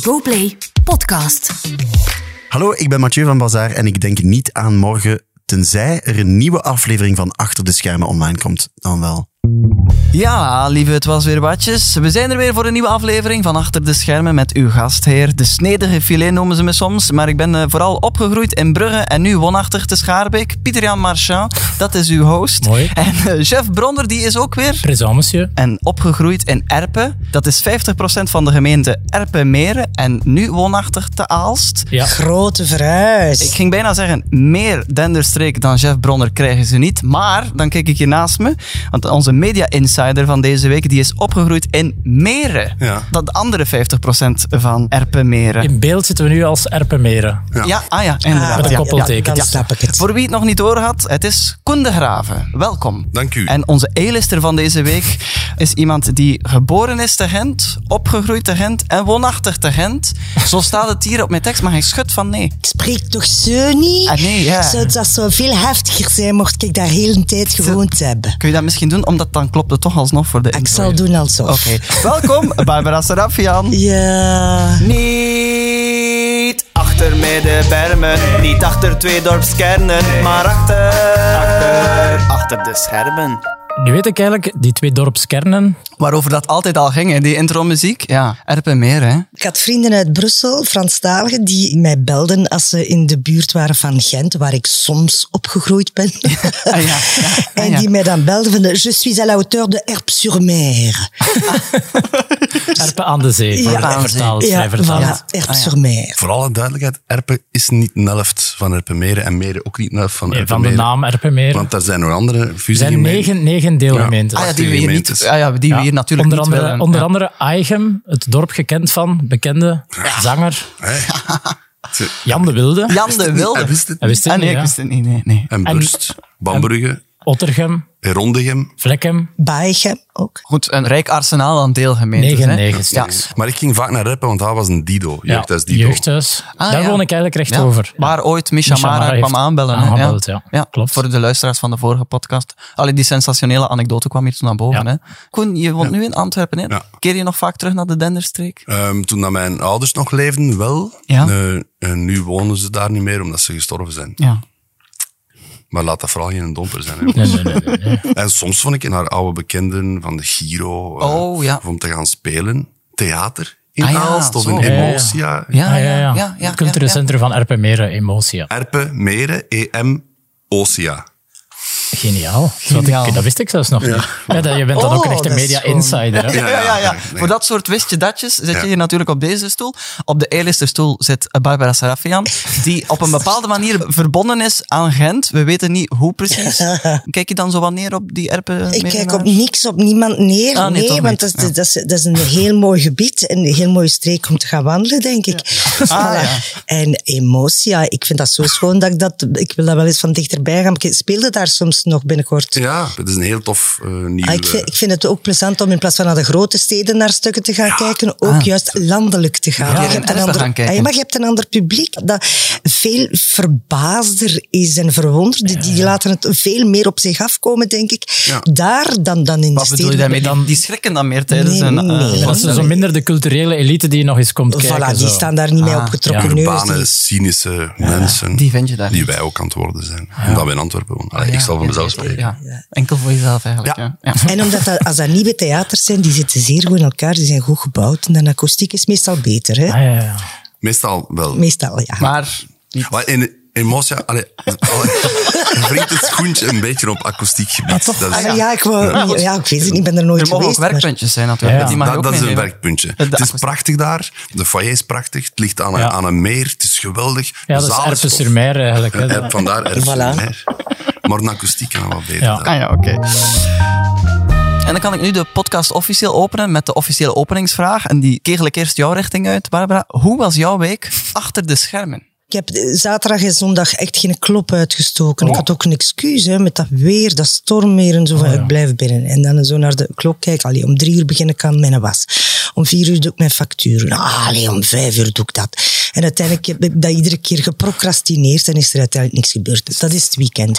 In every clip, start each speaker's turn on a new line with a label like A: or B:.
A: GoPlay Podcast.
B: Hallo, ik ben Mathieu van Bazaar en ik denk niet aan morgen, tenzij er een nieuwe aflevering van Achter de Schermen online komt. Dan wel.
C: Ja, lieve, het was weer watjes. We zijn er weer voor een nieuwe aflevering van Achter de Schermen met uw gastheer. De snedige filet noemen ze me soms, maar ik ben eh, vooral opgegroeid in Brugge en nu woonachtig te Schaarbeek. Pieter-Jan Marchand, dat is uw host.
D: Mooi.
C: En eh, chef Bronder, die is ook weer.
D: Présent, monsieur.
C: En opgegroeid in Erpen, dat is 50% van de gemeente Erpen-Meren en nu woonachtig te Aalst.
D: Ja.
E: Grote verhuis.
C: Ik ging bijna zeggen, meer denderstreek dan Jeff Bronner krijgen ze niet. Maar, dan kijk ik hier naast me, want onze media-insider van deze week, die is opgegroeid in Meren.
B: Ja.
C: Dat andere 50% van Erpenmeren.
D: In beeld zitten we nu als Erpenmeren.
B: Ja.
C: Ja. ah ja, inderdaad.
D: met een
C: ja.
D: koppelteken.
E: dan
D: Ja.
E: snap ik het.
C: Voor wie het nog niet door had, het is Koen de Graven. Welkom.
F: Dank u.
C: En onze E-lister van deze week is iemand die geboren is te Gent, opgegroeid te Gent en woonachtig te Gent. Zo staat het hier op mijn tekst, maar ik schud van nee.
E: Ik spreek toch zo niet?
C: Ah, nee, ja.
E: Zou dat zo veel heftiger zijn, mocht ik daar heel een tijd gewoond hebben?
C: Kun je dat misschien doen? Omdat dan klopt het toch alsnog voor de
E: Ik
C: intro
E: zal
C: hier.
E: doen alsof.
C: Oké, welkom Barbara Serafian.
E: Ja.
C: Niet achter middenbermen, niet achter twee dorpskernen, maar achter, achter, achter de schermen.
D: Nu weet ik eigenlijk, die twee dorpskernen.
C: Waarover dat altijd al ging, hè? die intromuziek. Ja, Erpen meer, hè. Ah,
E: Ik had vrienden uit Brussel, Franstaligen, die mij belden als ze in de buurt waren van Gent, waar ik soms opgegroeid ben.
C: Ah, ja, ja, ah,
E: En
C: ja.
E: die mij dan belden van, je suis à la hauteur de Erp-sur-Mer.
C: Dus-
D: Erpen aan de zee.
E: Ja.
D: Wordt
C: Aan de
D: vertaald,
E: Ja,
D: vrij vertaald.
E: voilà,
C: Ah,
E: Erp-sur-Mer.
F: Voor alle duidelijkheid, Erpen is niet een helft van Erpenmeren en Meren ook niet een helft van
D: Nee, van de
F: Erpenmeren.
D: naam Erpenmeren.
F: Want daar zijn nog andere
D: Er
F: fusies
D: zijn negen, negen deelgemeentes.
C: Ah ja, die we hier niet...
F: gemeentes.
C: Ah, ja, die we
D: Ja.
C: hier natuurlijk
D: onder
C: niet
D: andere,
C: willen.
D: Onder
C: Ja.
D: andere Aichem, het dorp gekend van, bekende zanger Jan de Wilde.
C: Jan de Wilde.
F: Hij wist het
D: Hij wist het
C: Ah, nee,
D: niet,
C: ik
D: ja.
C: wist het niet. Nee, nee.
F: En Burst, Bambrugge,
D: Ottergem,
F: Rondegem.
D: Vlekkem.
E: Baegem ook.
C: Goed, een rijk arsenaal aan deelgemeentes.
D: Negen,
C: hè.
D: negen
C: ja.
D: stuks.
F: Maar ik ging vaak naar Erpen, want daar was een Dido.
D: Ja,
F: Jeugdhuis Dido.
D: jeugdhuis.
C: Ah,
D: Daar
C: ja.
D: woon ik eigenlijk recht
C: Ja,
D: over.
C: Waar ooit Misha,
D: Misha
C: Mara
D: Mara heeft
C: kwam aanbellen. hè?
D: aangebeld, ja. Klopt.
C: Voor de luisteraars van de vorige podcast. Allee, die sensationele anekdote kwam hier toen naar boven.
D: Ja.
C: Hè? Koen, je woont nu in Antwerpen. Hè?
F: Ja.
C: Keer je nog vaak terug naar de Denderstreek?
F: Ehm, toen dat mijn ouders nog leefden, wel.
C: Ja.
F: Eh, en nu wonen ze daar niet meer, omdat ze gestorven zijn.
C: Ja.
F: Maar laat dat vooral geen domper zijn. hè.
D: Nee, nee, nee, nee, nee.
F: En soms vond ik in haar oude bekenden van de Giro. eh,
C: Oh, ja.
F: of om te gaan spelen. Theater in
C: Ah, ja,
F: Aalst of
C: zo.
F: in
C: Ja,
D: ja.
F: Emotia.
C: Ja,
D: Ah, ja, ja.
C: ja, ja,
D: het cultuurcentrum van Erpenmeren, Emotia.
F: Erpe, E Meren, EM, Ocia.
D: Geniaal. Zodat
C: Geniaal.
D: Ik, dat wist ik zelfs nog niet. Ja, dat, je bent dan
C: Oh,
D: ook een echte
E: dat is gewoon-
D: media-insider. hè?
C: Ja, ja, ja, ja.
F: ja, nee.
C: Voor dat soort wist je datjes zit
F: Ja.
C: je hier natuurlijk op deze stoel. Op de eerste stoel zit Barbara Sarafian, die op een bepaalde manier verbonden is aan Gent. We weten niet hoe precies. Kijk je dan zo wanneer op die erpen?
E: Ik kijk op
C: medenaars?
E: niks, op niemand neer.
C: Ah, nee,
E: nee,
C: toch niet.
E: want dat, is-
C: Ja.
E: dat, is, dat is een heel mooi gebied. en Een heel mooie streek om te gaan wandelen, denk ik. Voilà.
C: ja.
E: En Emotia, ik vind dat zo schoon dat ik dat... Ik wil dat wel eens van dichterbij gaan. Ik speelde daar soms nog binnenkort.
F: Ja, het is een heel tof eh nieuw...
E: Ah, ik,
F: eh,
E: vind, ik vind het ook plezant om in plaats van naar de grote steden naar stukken te gaan kijken, ook juist landelijk te
C: Ja,
E: gaan. je, hebt een
C: terug
E: ander,
C: gaan kijken.
E: Ah, ja, maar je hebt een ander publiek dat veel verbaasder is en verwonderd. Die, die laten het veel meer op zich afkomen, denk ik,
F: Ja.
E: daar dan, dan in
C: Wat
E: de
C: bedoel je
E: steden.
C: daarmee? Die, die schrikken dan meer tijdens
E: Nee,
C: een... eh,
E: nee.
D: Dat is zo minder de culturele elite die nog eens komt kijken.
E: Voilà, die
D: zo.
E: staan daar niet mee
C: Ah,
E: opgetrokken.
F: urbane, cynische mensen.
C: Die vind je daar
F: Die
C: niet. Ah,
F: wij ook aan het worden zijn. Omdat we in Antwerpen wonen. Allee, Ik zal van mezelf spreken.
C: Ja, enkel voor jezelf eigenlijk. Ja.
F: Ja.
C: Ja.
E: En omdat dat, als dat nieuwe theaters zijn, die zitten zeer goed in elkaar, die zijn goed gebouwd. En de akoestiek is meestal beter, hè?
D: Ah, ja, ja.
F: Meestal wel.
E: Meestal, ja.
C: Maar niet-
F: Maar in Emotia... Allee, allee, wringt het schoentje een beetje op akoestiek gebied. dat is,
E: Ah, ja, ik wou, ja. ik weet het niet, ik ben er nooit
C: er mogen ook
E: geweest. maar-
C: werkpuntjes zijn natuurlijk.
D: Ja.
C: Die mag je
F: dat,
C: ook
F: dat is een
C: meenemen.
F: werkpuntje.
C: De
F: Het is
C: akoestiek.
F: prachtig daar. De foyer is prachtig. Het ligt aan een,
D: Ja.
F: aan een meer. Het is geweldig. De
D: ja, dat is
F: zaal
D: Erpen
F: tof.
D: sur Mer eigenlijk. Hè.
F: Eh, Vandaar Erpen sur
E: Voilà.
F: Mer. Maar een akoestiek kan wel beter.
D: Ja.
F: daar.
C: Ah ja, oké. En dan kan ik nu de podcast officieel openen met de officiële openingsvraag. En die kegel ik eerst jouw richting uit, Barbara. Hoe was jouw week achter de schermen?
E: Ik heb eh, zaterdag en zondag echt geen klop uitgestoken. Ik had ook een excuus hè, met dat weer, dat stormweer en zo. Van, Ik blijf binnen. En dan zo naar de klok kijken. Allee, om drie uur begin ik aan mijn was. Om vier uur doe ik mijn facturen. Ah, Allee, om Nou, vijf uur doe ik dat. En uiteindelijk heb ik dat iedere keer geprocrastineerd en is er uiteindelijk niks gebeurd. Dat is het weekend.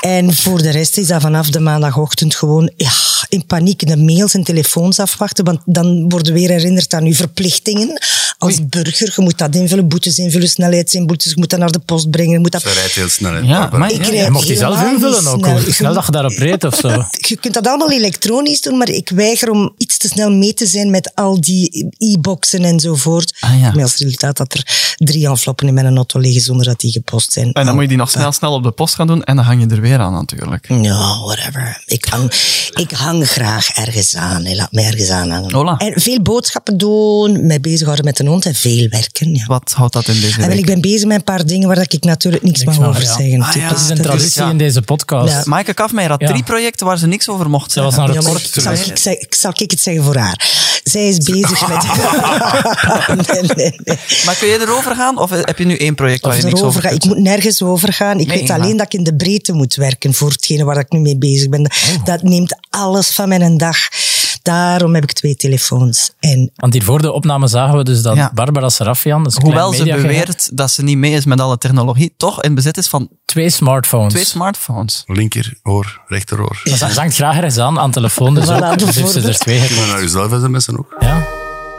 E: En voor de rest is dat vanaf de maandagochtend gewoon ja, in paniek de mails en telefoons afwachten. Want dan worden weer herinnerd aan uw verplichtingen als burger. Je moet dat invullen, boetes invullen, snelheidsinboetes. Je moet dat naar de post brengen. Je moet dat...
F: Ze rijdt heel snel. hè.
D: Ja,
F: Barbara.
D: maar
E: Ik
D: ja,
E: rijd
D: je mocht die zelf
E: helemaal
D: invullen
E: niet
D: ook.
E: snel.
D: Hoe snel dat je daarop reed of zo.
E: Je kunt dat allemaal elektronisch doen, maar ik weiger om iets te snel mee te zijn met al die e-boxen enzovoort.
C: Ah, ja.
E: Met als resultaat dat er drie enveloppen in mijn auto liggen zonder dat die gepost zijn.
C: En dan moet je die nog snel, snel op de post gaan doen en dan hang je er weer aan natuurlijk.
E: Ja, whatever. Ik hang, ik hang graag ergens aan. hè. Laat mij ergens aanhangen.
C: Hola.
E: En veel boodschappen doen, mij bezighouden met de hond en veel werken. Ja.
C: Wat houdt dat in deze
E: En wel, ik
C: week?
E: ben bezig met een paar dingen waar dat ik natuurlijk niks,
D: Niks
E: mag
D: mag,
E: over
D: ja.
E: zeggen.
C: Ah, ja,
E: Dat
D: Dat is een
E: dat
D: traditie
C: ja.
D: in deze podcast.
E: Ja.
C: Maaike Kafmeijer had
D: Ja.
C: drie projecten waar ze niks over mocht
D: Dat was
C: zeggen.
D: een
E: Ja, maar
D: record.
E: zal, ik, zeg- ik- zal ik het zeggen voor haar? Zij is bezig met... nee, nee, nee.
C: Maar kun je erover gaan of heb je nu één project waar
E: Of
C: je niks
E: erover
C: over
E: gaan.
C: kunt?
E: Ik moet nergens over gaan. Ik
C: Nee,
E: weet
C: maar-
E: alleen dat ik in de breedte moet werken voor hetgene waar ik nu mee bezig ben.
C: Oh.
E: Dat neemt alles van mijn dag. Daarom heb ik twee telefoons. En
D: Want hier voor de opname zagen we dus dat
C: Ja.
D: Barbara Serafian, dat is een
C: Hoewel ze
D: klein mediageheim,
C: beweert dat ze niet mee is met alle technologie, toch in bezit is van
D: twee smartphones.
E: Dus-
C: twee smartphones.
F: Linker oor, rechteroor.
D: Maar Ze hangt graag ergens aan, aan telefoon. Dus
E: Voilà,
D: ook, dus heeft ze er
E: bijvoorbeeld.
D: twee
F: Maar naar
D: hebben.
F: jezelf mensen ook.
D: Ja.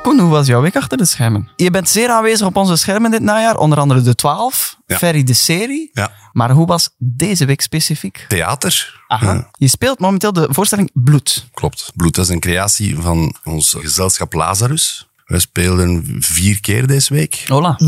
C: Koen, hoe was jouw week achter de schermen? Je bent zeer aanwezig op onze schermen dit najaar, onder andere de 12,
F: Ja.
C: Ferry de serie.
F: Ja.
C: Maar hoe was deze week specifiek?
F: Theater.
C: Aha.
F: Ja,
C: Je speelt momenteel de voorstelling Bloed.
F: klopt. Bloed, dat is een creatie van ons gezelschap Lazarus. We speelden vier keer deze week.
C: Hola.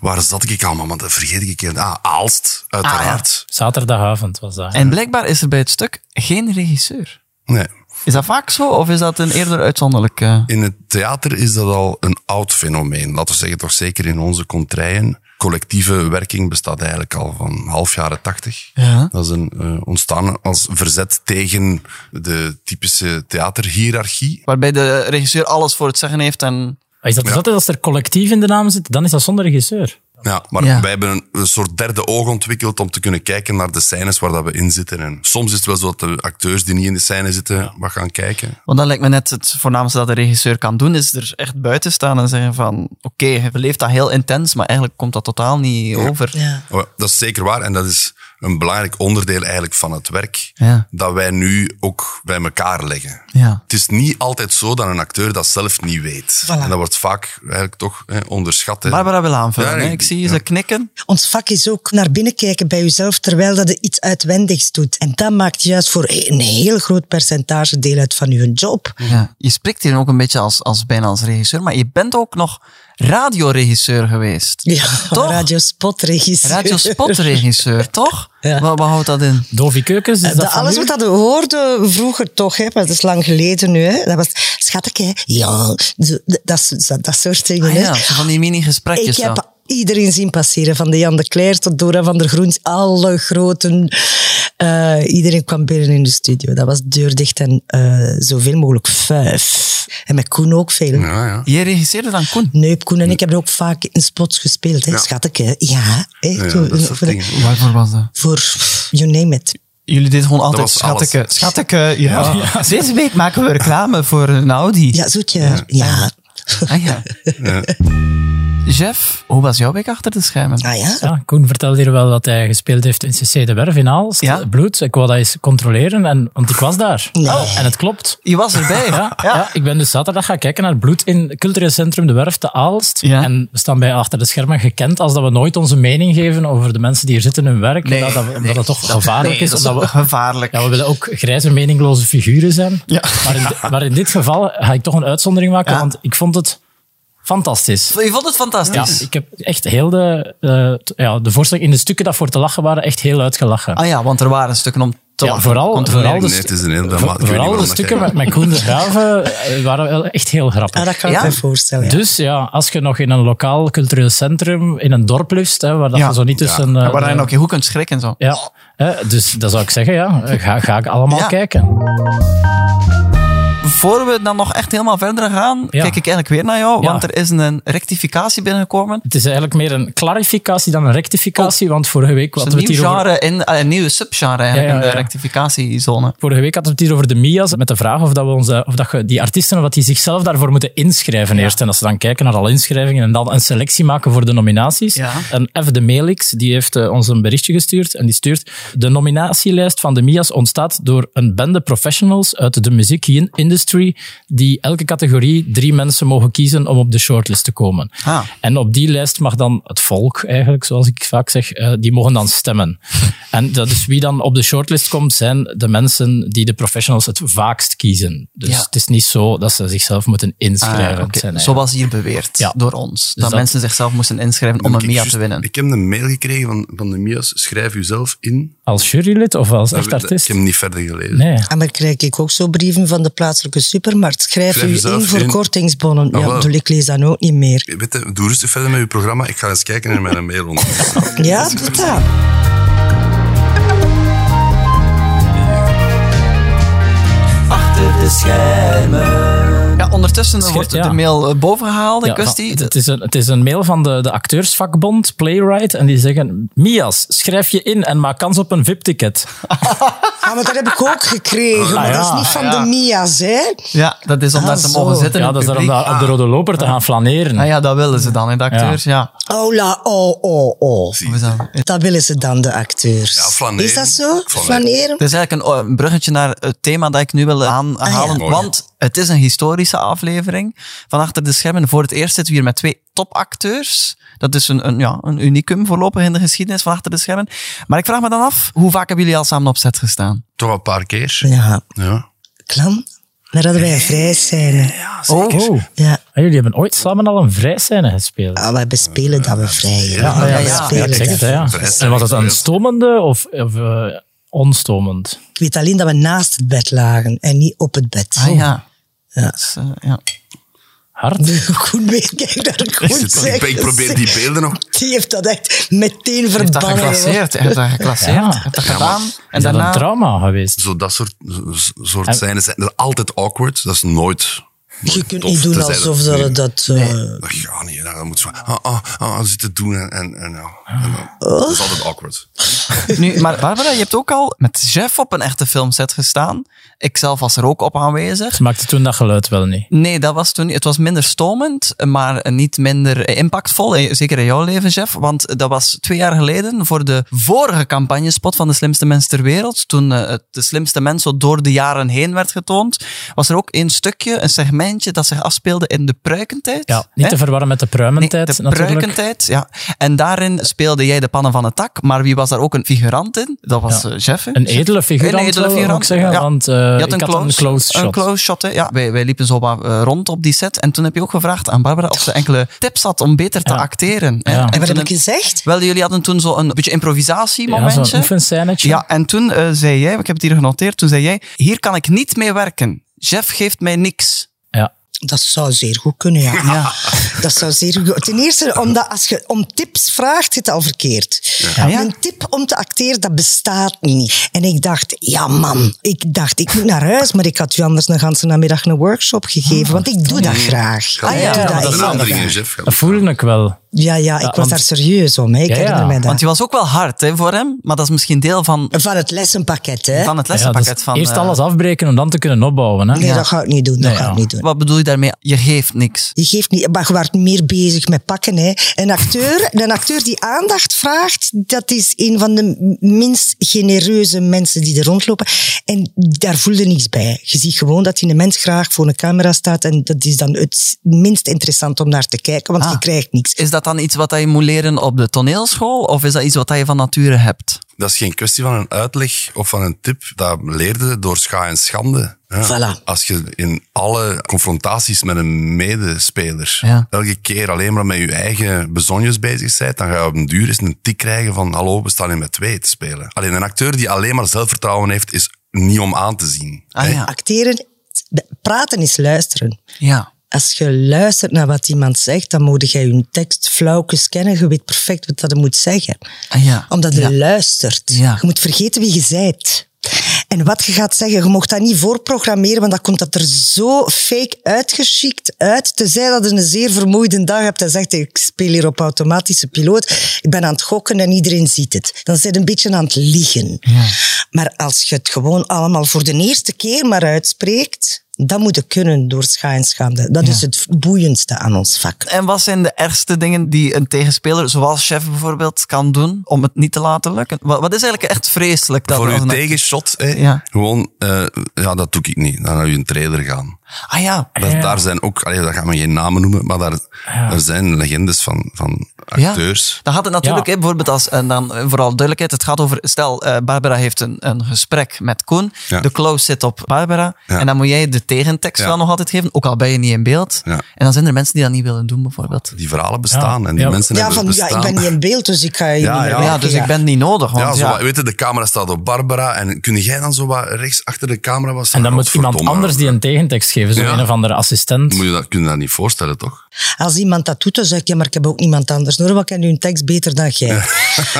F: Waar zat ik allemaal? Want dat vergeet ik een keer. Ah, Aalst, uiteraard.
D: Zaterdagavond was dat.
C: En blijkbaar is er bij het stuk geen regisseur.
F: Nee.
C: Is dat vaak zo of is dat een eerder uitzonderlijk? eh?
F: In het theater is dat al een oud fenomeen. Laten we zeggen, toch zeker in onze contraien. Collectieve werking bestaat eigenlijk al van half jaren tachtig.
C: Ja.
F: Dat is een, eh, ontstaan als verzet tegen de typische theaterhiërarchie.
C: Waarbij de regisseur alles voor het zeggen heeft en
D: Maar Is dat dus altijd als er collectief in de naam zit, dan is dat zonder regisseur.
F: Ja, maar
C: Ja.
F: wij hebben een, een soort derde oog ontwikkeld om te kunnen kijken naar de scènes waar dat we in zitten. En soms is het wel zo dat de acteurs die niet in de scène zitten, wat gaan kijken.
C: Want dat lijkt me net het voornaamste dat de regisseur kan doen, is er echt buiten staan en zeggen van, oké, je beleeft dat heel intens, maar eigenlijk komt dat totaal niet over.
E: ja.
F: Oh, Dat is zeker waar en dat is een belangrijk onderdeel eigenlijk van het werk.
C: Ja.
F: Dat wij nu ook bij elkaar leggen.
C: Ja.
F: Het is niet altijd zo dat een acteur dat zelf niet weet.
E: Voilà.
F: En dat wordt vaak eigenlijk toch hè, onderschat. hè.
C: Barbara wil aanvullen.
F: Ja,
C: hè?
F: ik-
C: ik zie ze knikken.
E: Ons vak is ook naar binnen kijken bij jezelf, terwijl dat je iets uitwendigs doet. En dat maakt juist voor een heel groot percentage deel uit van je job.
C: Ja. Je spreekt hier ook een beetje als, als bijna als regisseur, maar je bent ook nog radioregisseur geweest.
E: Ja,
C: Toch?
E: radiospotregisseur.
C: Radiospotregisseur, toch?
E: Ja.
C: Wat, wat houdt dat in?
D: Dovi Keukens, is
E: Eh,
D: dat,
E: dat
D: van
E: alles
D: u?
E: wat dat we hoorden vroeger toch, hè, maar dat is lang geleden nu. Hè, dat was, schat ik, hè, ja, zo- d- dat, is- dat, dat soort dingen.
C: Ah
E: hè.
C: ja, zo van die mini-gesprekjes.
E: ik heb
C: zo.
E: iedereen zien passeren, van de Jan de Cler tot Dora van der Groens, alle groten. eh, iedereen kwam binnen in de studio. Dat was deurdicht en eh, zoveel mogelijk vijf. En met Koen ook veel.
F: Ja, ja.
C: Je regisseerde dan Koen.
E: Neup, Koen en ik hebben ook vaak in spots gespeeld, hè,
F: Ja.
E: schat ik. Hè. Ja, hè, zo-
F: Ja, dat soort
E: voor,
F: dingen.
C: Waarvoor was dat?
E: voor you name it.
C: Jullie deden gewoon altijd
F: was alles.
C: schatteke. Schatteke, ja. Deze week maken we reclame voor een Audi.
E: Ja, zoetje. ja.
C: Ah ja. Jeff, hoe was jouw week achter de schermen?
E: Ah ja?
D: Ja, Koen vertelde hier wel dat hij gespeeld heeft in CC de Werf in Aalst.
C: Ja.
D: Bloed, ik wou dat eens controleren, en, want ik was daar. Oh,
E: Nee.
D: En het klopt.
C: Je was erbij,
D: Ja,
C: ja?
D: ja. ik ben dus zaterdag gaan kijken naar Bloed in het cultureel centrum De Werf te Aalst.
C: Ja.
D: En we staan bij achter de schermen gekend als dat we nooit onze mening geven over de mensen die hier zitten hun werk.
C: Nee,
D: dat, dat, omdat
C: nee.
D: dat toch gevaarlijk
C: Nee,
D: is.
C: dat
D: omdat we,
C: gevaarlijk.
D: ja, we willen ook grijze, meningloze figuren zijn. Maar, in, di- maar in dit geval ga ik toch een uitzondering maken,
C: Ja.
D: want ik vond het fantastisch.
C: Je vond het
D: Ja,
C: fantastisch.
D: ik heb echt heel de, eh, t- ja, de voorstelling in de stukken dat voor te lachen waren, echt heel uitgelachen.
C: Ah ja, want er waren stukken om te
D: Ja,
C: lachen.
D: vooral,
C: Controleren.
D: vooral de,
F: Nee, het is een heel
D: stu-
F: drama- ik weet niet
D: vooral
F: waarom
D: de
F: dat
D: stukken
F: jij-
D: met, met Koen de Graven eh, waren wel echt heel grappig.
E: Ah, dat kan ik
C: Ja.
E: me voorstellen. ja.
D: Dus ja, als je nog in een lokaal cultureel centrum, in een dorp leeft, hè, waar dat
C: Ja.
D: je zo niet tussen... eh,
C: Ja, Waar je
D: de-
C: nog je goed kunt schrikken en zo.
D: ja, hè, dus dat zou ik zeggen, ja, eh, ga, ga ik allemaal
C: Ja.
D: kijken.
C: voor we dan nog echt helemaal verder gaan, kijk ik eigenlijk weer naar jou,
D: Ja.
C: want er is een rectificatie binnengekomen.
D: Het is eigenlijk meer een clarificatie dan een rectificatie, want vorige week
C: Oh. Het
D: hadden
C: is een
D: we het
C: nieuw
D: hier over-
C: genre, in, eh, een nieuwe subgenre eigenlijk
D: Ja, ja,
C: in de
D: ja.
C: rectificatiezone.
D: Vorige week hadden we het hier over de Mia's, met de vraag of, dat we onze, of dat je die artiesten of dat die zichzelf daarvoor moeten inschrijven eerst. En dat ze dan kijken naar alle inschrijvingen en dan een selectie maken voor de nominaties.
C: Ja.
D: En F. de Melix, die heeft eh, ons een berichtje gestuurd en die stuurt de nominatielijst van de Mia's ontstaat door een bende professionals uit de muziekindustrie die elke categorie drie mensen mogen kiezen om op de shortlist te komen.
C: Ah.
D: En op die lijst mag dan het volk, eigenlijk, zoals ik vaak zeg, eh, die mogen dan stemmen. En dat is wie dan op de shortlist komt, zijn de mensen die de professionals het vaakst kiezen. Dus
C: Ja.
D: het is niet zo dat ze zichzelf moeten inschrijven.
C: Ah,
D: Het zijn
C: oké.
D: eigenlijk-
C: Zoals hier beweerd
D: nou Ja. Dus
C: door ons. dat,
D: dat-
C: mensen zichzelf moesten inschrijven om
F: Ik
C: een MIA
F: juist-
C: te winnen.
F: Ik heb een mail gekregen van, van de Mia's. Schrijf uzelf in.
D: Als jurylid of als echt
F: Dat- dat- Ik
D: artiest?
F: heb hem niet verder gelezen.
D: Nee.
E: En dan Ah, krijg ik ook zo brieven van de plaatselijke supermarkt. Schrijf,
F: Schrijf
E: u
F: jezelf
E: in voor
F: in.
E: kortingsbonnen.
F: Ah,
E: ja,
F: wel.
E: bedoel, ik lees dat ook niet meer.
F: Weet je, doe rustig verder met uw programma. Ik ga eens kijken naar mijn mail. ondertussen.
E: Ja, doe dat.
C: Achter de schermen. Ja, ondertussen wordt
D: ja.
C: de mail eh, bovengehaald, de
D: Ja,
C: kwestie.
D: van- het, is een, het is een mail van de, de acteursvakbond, Playwright, en die zeggen, Mias, schrijf je in en maak kans op een VIP-ticket.
E: Ah, maar dat heb ik ook gekregen.
C: Ah,
E: Maar dat is niet van de Mia's, hè?
C: Ja, dat is om
E: Ah,
C: daar te
E: zo.
C: mogen zitten.
D: Ja,
C: in
D: dat is
C: het
D: dan om
C: publiek.
D: daar op de rode loper te gaan flaneren.
C: Ah ja, dat willen ze dan, hè, de acteurs. Ja.
E: Oh, la, oh, oh, oh.
C: Hoe is dat? Het
E: Dat willen ze dan, de acteurs.
F: Ja, flaneren.
E: Is dat zo?
F: Flaneren.
E: Flaneren?
C: is eigenlijk een, een bruggetje naar het thema dat ik nu wil aanhalen.
E: Ah,
F: ja.
C: Want het is een historische aflevering. Van achter de schermen. Voor het eerst zitten we hier met twee topacteurs. Dat is een, een, ja, een unicum voorlopig in de geschiedenis van achter de schermen. Maar ik vraag me dan af, hoe vaak hebben jullie al samen op set gestaan?
F: Toch wel een paar keer.
E: Ja,
F: Ja.
E: klam. Daar hadden wij een vrij scène.
D: Oh. Oh.
E: Ja.
D: En jullie hebben ooit samen al een vrijscène gespeeld.
E: Ah, wij bespelen dat we vrij. Ja,
C: ja,
E: we
C: ja.
E: spelen
D: ik zeg het,
E: dat.
D: hè, ja. En was het een stomende of, of eh, onstomend?
E: Ik weet alleen dat we naast het bed lagen en niet op het bed.
C: Ah ja.
E: Ja.
C: Dat is, eh, ja.
D: Hard?
E: Goed mee, kijk daar
F: Ik,
E: goed
F: zit- ik ben-
E: zeggen.
F: ik probeer die beelden nog.
E: Die heeft dat echt meteen
C: Heeft dat
E: verbannen. hoor.
C: geclasseerd. Heeft dat geclasseerd.
D: Ja.
C: Heeft dat gedaan. En
D: Is dat een
C: daarna...
D: trauma geweest?
F: Zo dat soort, zo- soort scènes zijn dat is altijd awkward. Dat is nooit.
E: Je kunt
F: tof
E: niet doen
F: te zijn.
E: alsof dat...
F: Nee.
E: dat eh,
F: Dat gaat niet. Dan moet zo. Ah, ah, ah, zitten doen en. en, en, ja. En dan-
C: Oh.
F: Dat is altijd awkward.
C: Nu, maar Barbara, je hebt ook al met Jeff op een echte filmset gestaan. Ikzelf was er ook op aanwezig.
D: Ze maakte toen dat geluid wel niet.
C: Nee, dat was toen. niet. Het was minder stomend, maar niet minder impactvol. eh, Zeker in jouw leven, Jeff. Want dat was twee jaar geleden voor de vorige campagnespot van De Slimste Mens ter Wereld. Toen eh, het De Slimste Mens zo door de jaren heen werd getoond. Was er ook een stukje, een segmentje dat zich afspeelde in de pruikentijd.
D: Ja, niet
C: Hè?
D: te verwarren met de pruimentijd
C: Nee, de
D: natuurlijk.
C: pruikentijd, ja. En daarin speelde jij de pannen van het tak, maar wie was daar ook een figurant in? Dat was
D: Ja.
C: eh, Jeff, hè?
D: Een edele figurant,
C: Een edele
D: wil ik
C: figurant,
D: zeggen,
C: ja.
D: want, eh,
C: Je
D: ik had een close shot.
C: hè. Ja, wij, wij liepen zo wat, eh, rond op die set en toen heb je ook gevraagd aan Barbara of ze enkele tips had om beter te
D: Ja.
C: acteren. hè.
D: Ja.
C: En
D: En
E: En wat
C: toen
E: heb ik
C: een-
E: gezegd?
C: wel, jullie hadden toen zo'n beetje
D: Ja,
C: improvisatiemomentje.
D: zo'n oefenscènetje.
C: Ja, en toen eh, zei jij, ik heb het hier genoteerd, toen zei jij, hier kan ik niet mee werken. Jeff geeft mij niks.
D: Ja.
E: Dat zou zeer goed kunnen, ja.
C: Ja.
E: Dat zou zeer goed Ten eerste, omdat als je om tips vraagt, zit het al verkeerd.
C: ja.
E: Een tip om te acteren, dat bestaat niet. En ik dacht, ja man, ik dacht, ik moet naar huis, maar ik had u anders een ganse namiddag een workshop gegeven, want ik doe dat graag.
F: Ah,
E: Ik
C: ja,
E: doe
C: maar
E: dat
F: dat is
E: heel
F: een aandringen,
E: graag.
F: Jeff.
D: Dat voelde ik wel.
E: Ja, ja, ik was
D: want-
E: daar serieus om. Hè. Ik
D: Ja, ja.
E: herinner mij dat.
C: Want je was ook wel hard hè, voor hem, maar dat is misschien deel van,
E: Van het lessenpakket, hè?
C: van het
D: Ja,
C: lessenpakket.
D: dus
C: van,
D: eerst
C: eh,
D: alles afbreken om dan te kunnen opbouwen. Hè?
E: Nee, dat ga ik niet doen. Dat
D: Nee,
E: ga
D: ja.
E: ik niet doen.
C: Wat bedoel je daarmee? Je geeft niks.
E: Je geeft niet, maar je wordt meer bezig met pakken. Hè. Een, acteur, een acteur die aandacht vraagt, dat is een van de m- minst genereuze mensen die er rondlopen. En daar voel je niks bij. Je ziet gewoon dat die een mens graag voor een camera staat en dat is dan het minst interessant om naar te kijken, want
C: Ah.
E: je krijgt niks.
C: Is dat dan iets wat je moet leren op de toneelschool? Of is dat iets wat je van nature hebt?
F: Dat is geen kwestie van een uitleg of van een tip. Dat leerde je door scha en schande. Ja.
E: Voilà.
F: Als je in alle confrontaties met een medespeler
C: Ja.
F: elke keer alleen maar met je eigen bezonjes bezig bent, dan ga je op een duur eens een tik krijgen van hallo, we staan hier met twee te spelen. Alleen een acteur die alleen maar zelfvertrouwen heeft, is niet om aan te zien.
C: Ah
F: Hè?
C: ja.
E: Acteren, praten is luisteren.
C: ja.
E: Als je luistert naar wat iemand zegt, dan moet jij je tekst flauwkes kennen. Je weet perfect wat dat je moet zeggen.
C: Ah ja.
E: Omdat je
C: Ja.
E: luistert.
C: Ja.
E: Je moet vergeten wie je zijt. En wat je gaat zeggen, je mocht dat niet voorprogrammeren, want dan komt dat er zo fake uitgeschikt uit. Tenzij dat je een zeer vermoeide dag hebt en zegt, ik speel hier op automatische piloot. Ik ben aan het gokken en iedereen ziet het. Dan zit een beetje aan het liegen. Maar als je het gewoon allemaal voor de eerste keer maar uitspreekt, dat moet je kunnen door scha en schande. Dat is het boeiendste aan ons vak.
C: En wat zijn de ergste dingen die een tegenspeler, zoals chef bijvoorbeeld, kan doen om het niet te laten lukken? Wat, wat is eigenlijk echt vreselijk? Dat
F: Voor
C: als
F: uw
C: een-
F: tegenshot, hè,
C: Ja.
F: gewoon, eh, ja, dat doe ik niet. Dan naar uw trailer gaan.
C: Ah ja.
F: Dat, Daar zijn ook, allee, dat gaan we geen namen noemen, maar daar, daar zijn legendes van, van
C: Ja.
F: acteurs.
C: Dan gaat het natuurlijk,
D: Ja.
C: hè, bijvoorbeeld als, en dan eh, vooral duidelijkheid, het gaat over, stel, eh, Barbara heeft een, een gesprek met Koen,
F: Ja.
C: de close zit op Barbara,
F: Ja.
C: en dan moet jij de tegentekst
F: Ja.
C: wel nog altijd geven, ook al ben je niet in beeld.
F: Ja.
C: En dan zijn er mensen die dat niet willen doen, bijvoorbeeld.
F: Die verhalen bestaan
D: Ja.
F: en die
D: Ja.
F: mensen
E: Ja,
F: hebben
E: van, ja,
F: bestaan.
E: ik ben niet in beeld, dus ik ga hier
F: Ja,
E: niet meer
F: ja.
C: Ja,
E: werken,
C: dus ik ben niet nodig, want
F: Ja,
C: ja,
F: zo wat- weet je, de camera staat op Barbara en kun jij dan zo wat rechts achter de camera was?
D: En dan moet iemand anders die een tegentekst geven, zo'n
F: Ja.
D: een of andere assistent.
F: Moet je dat, kun je dat niet voorstellen, toch?
E: Als iemand dat doet, dan zeg ik, ja, maar ik heb ook niemand anders nodig, want ik ken uw tekst beter dan jij.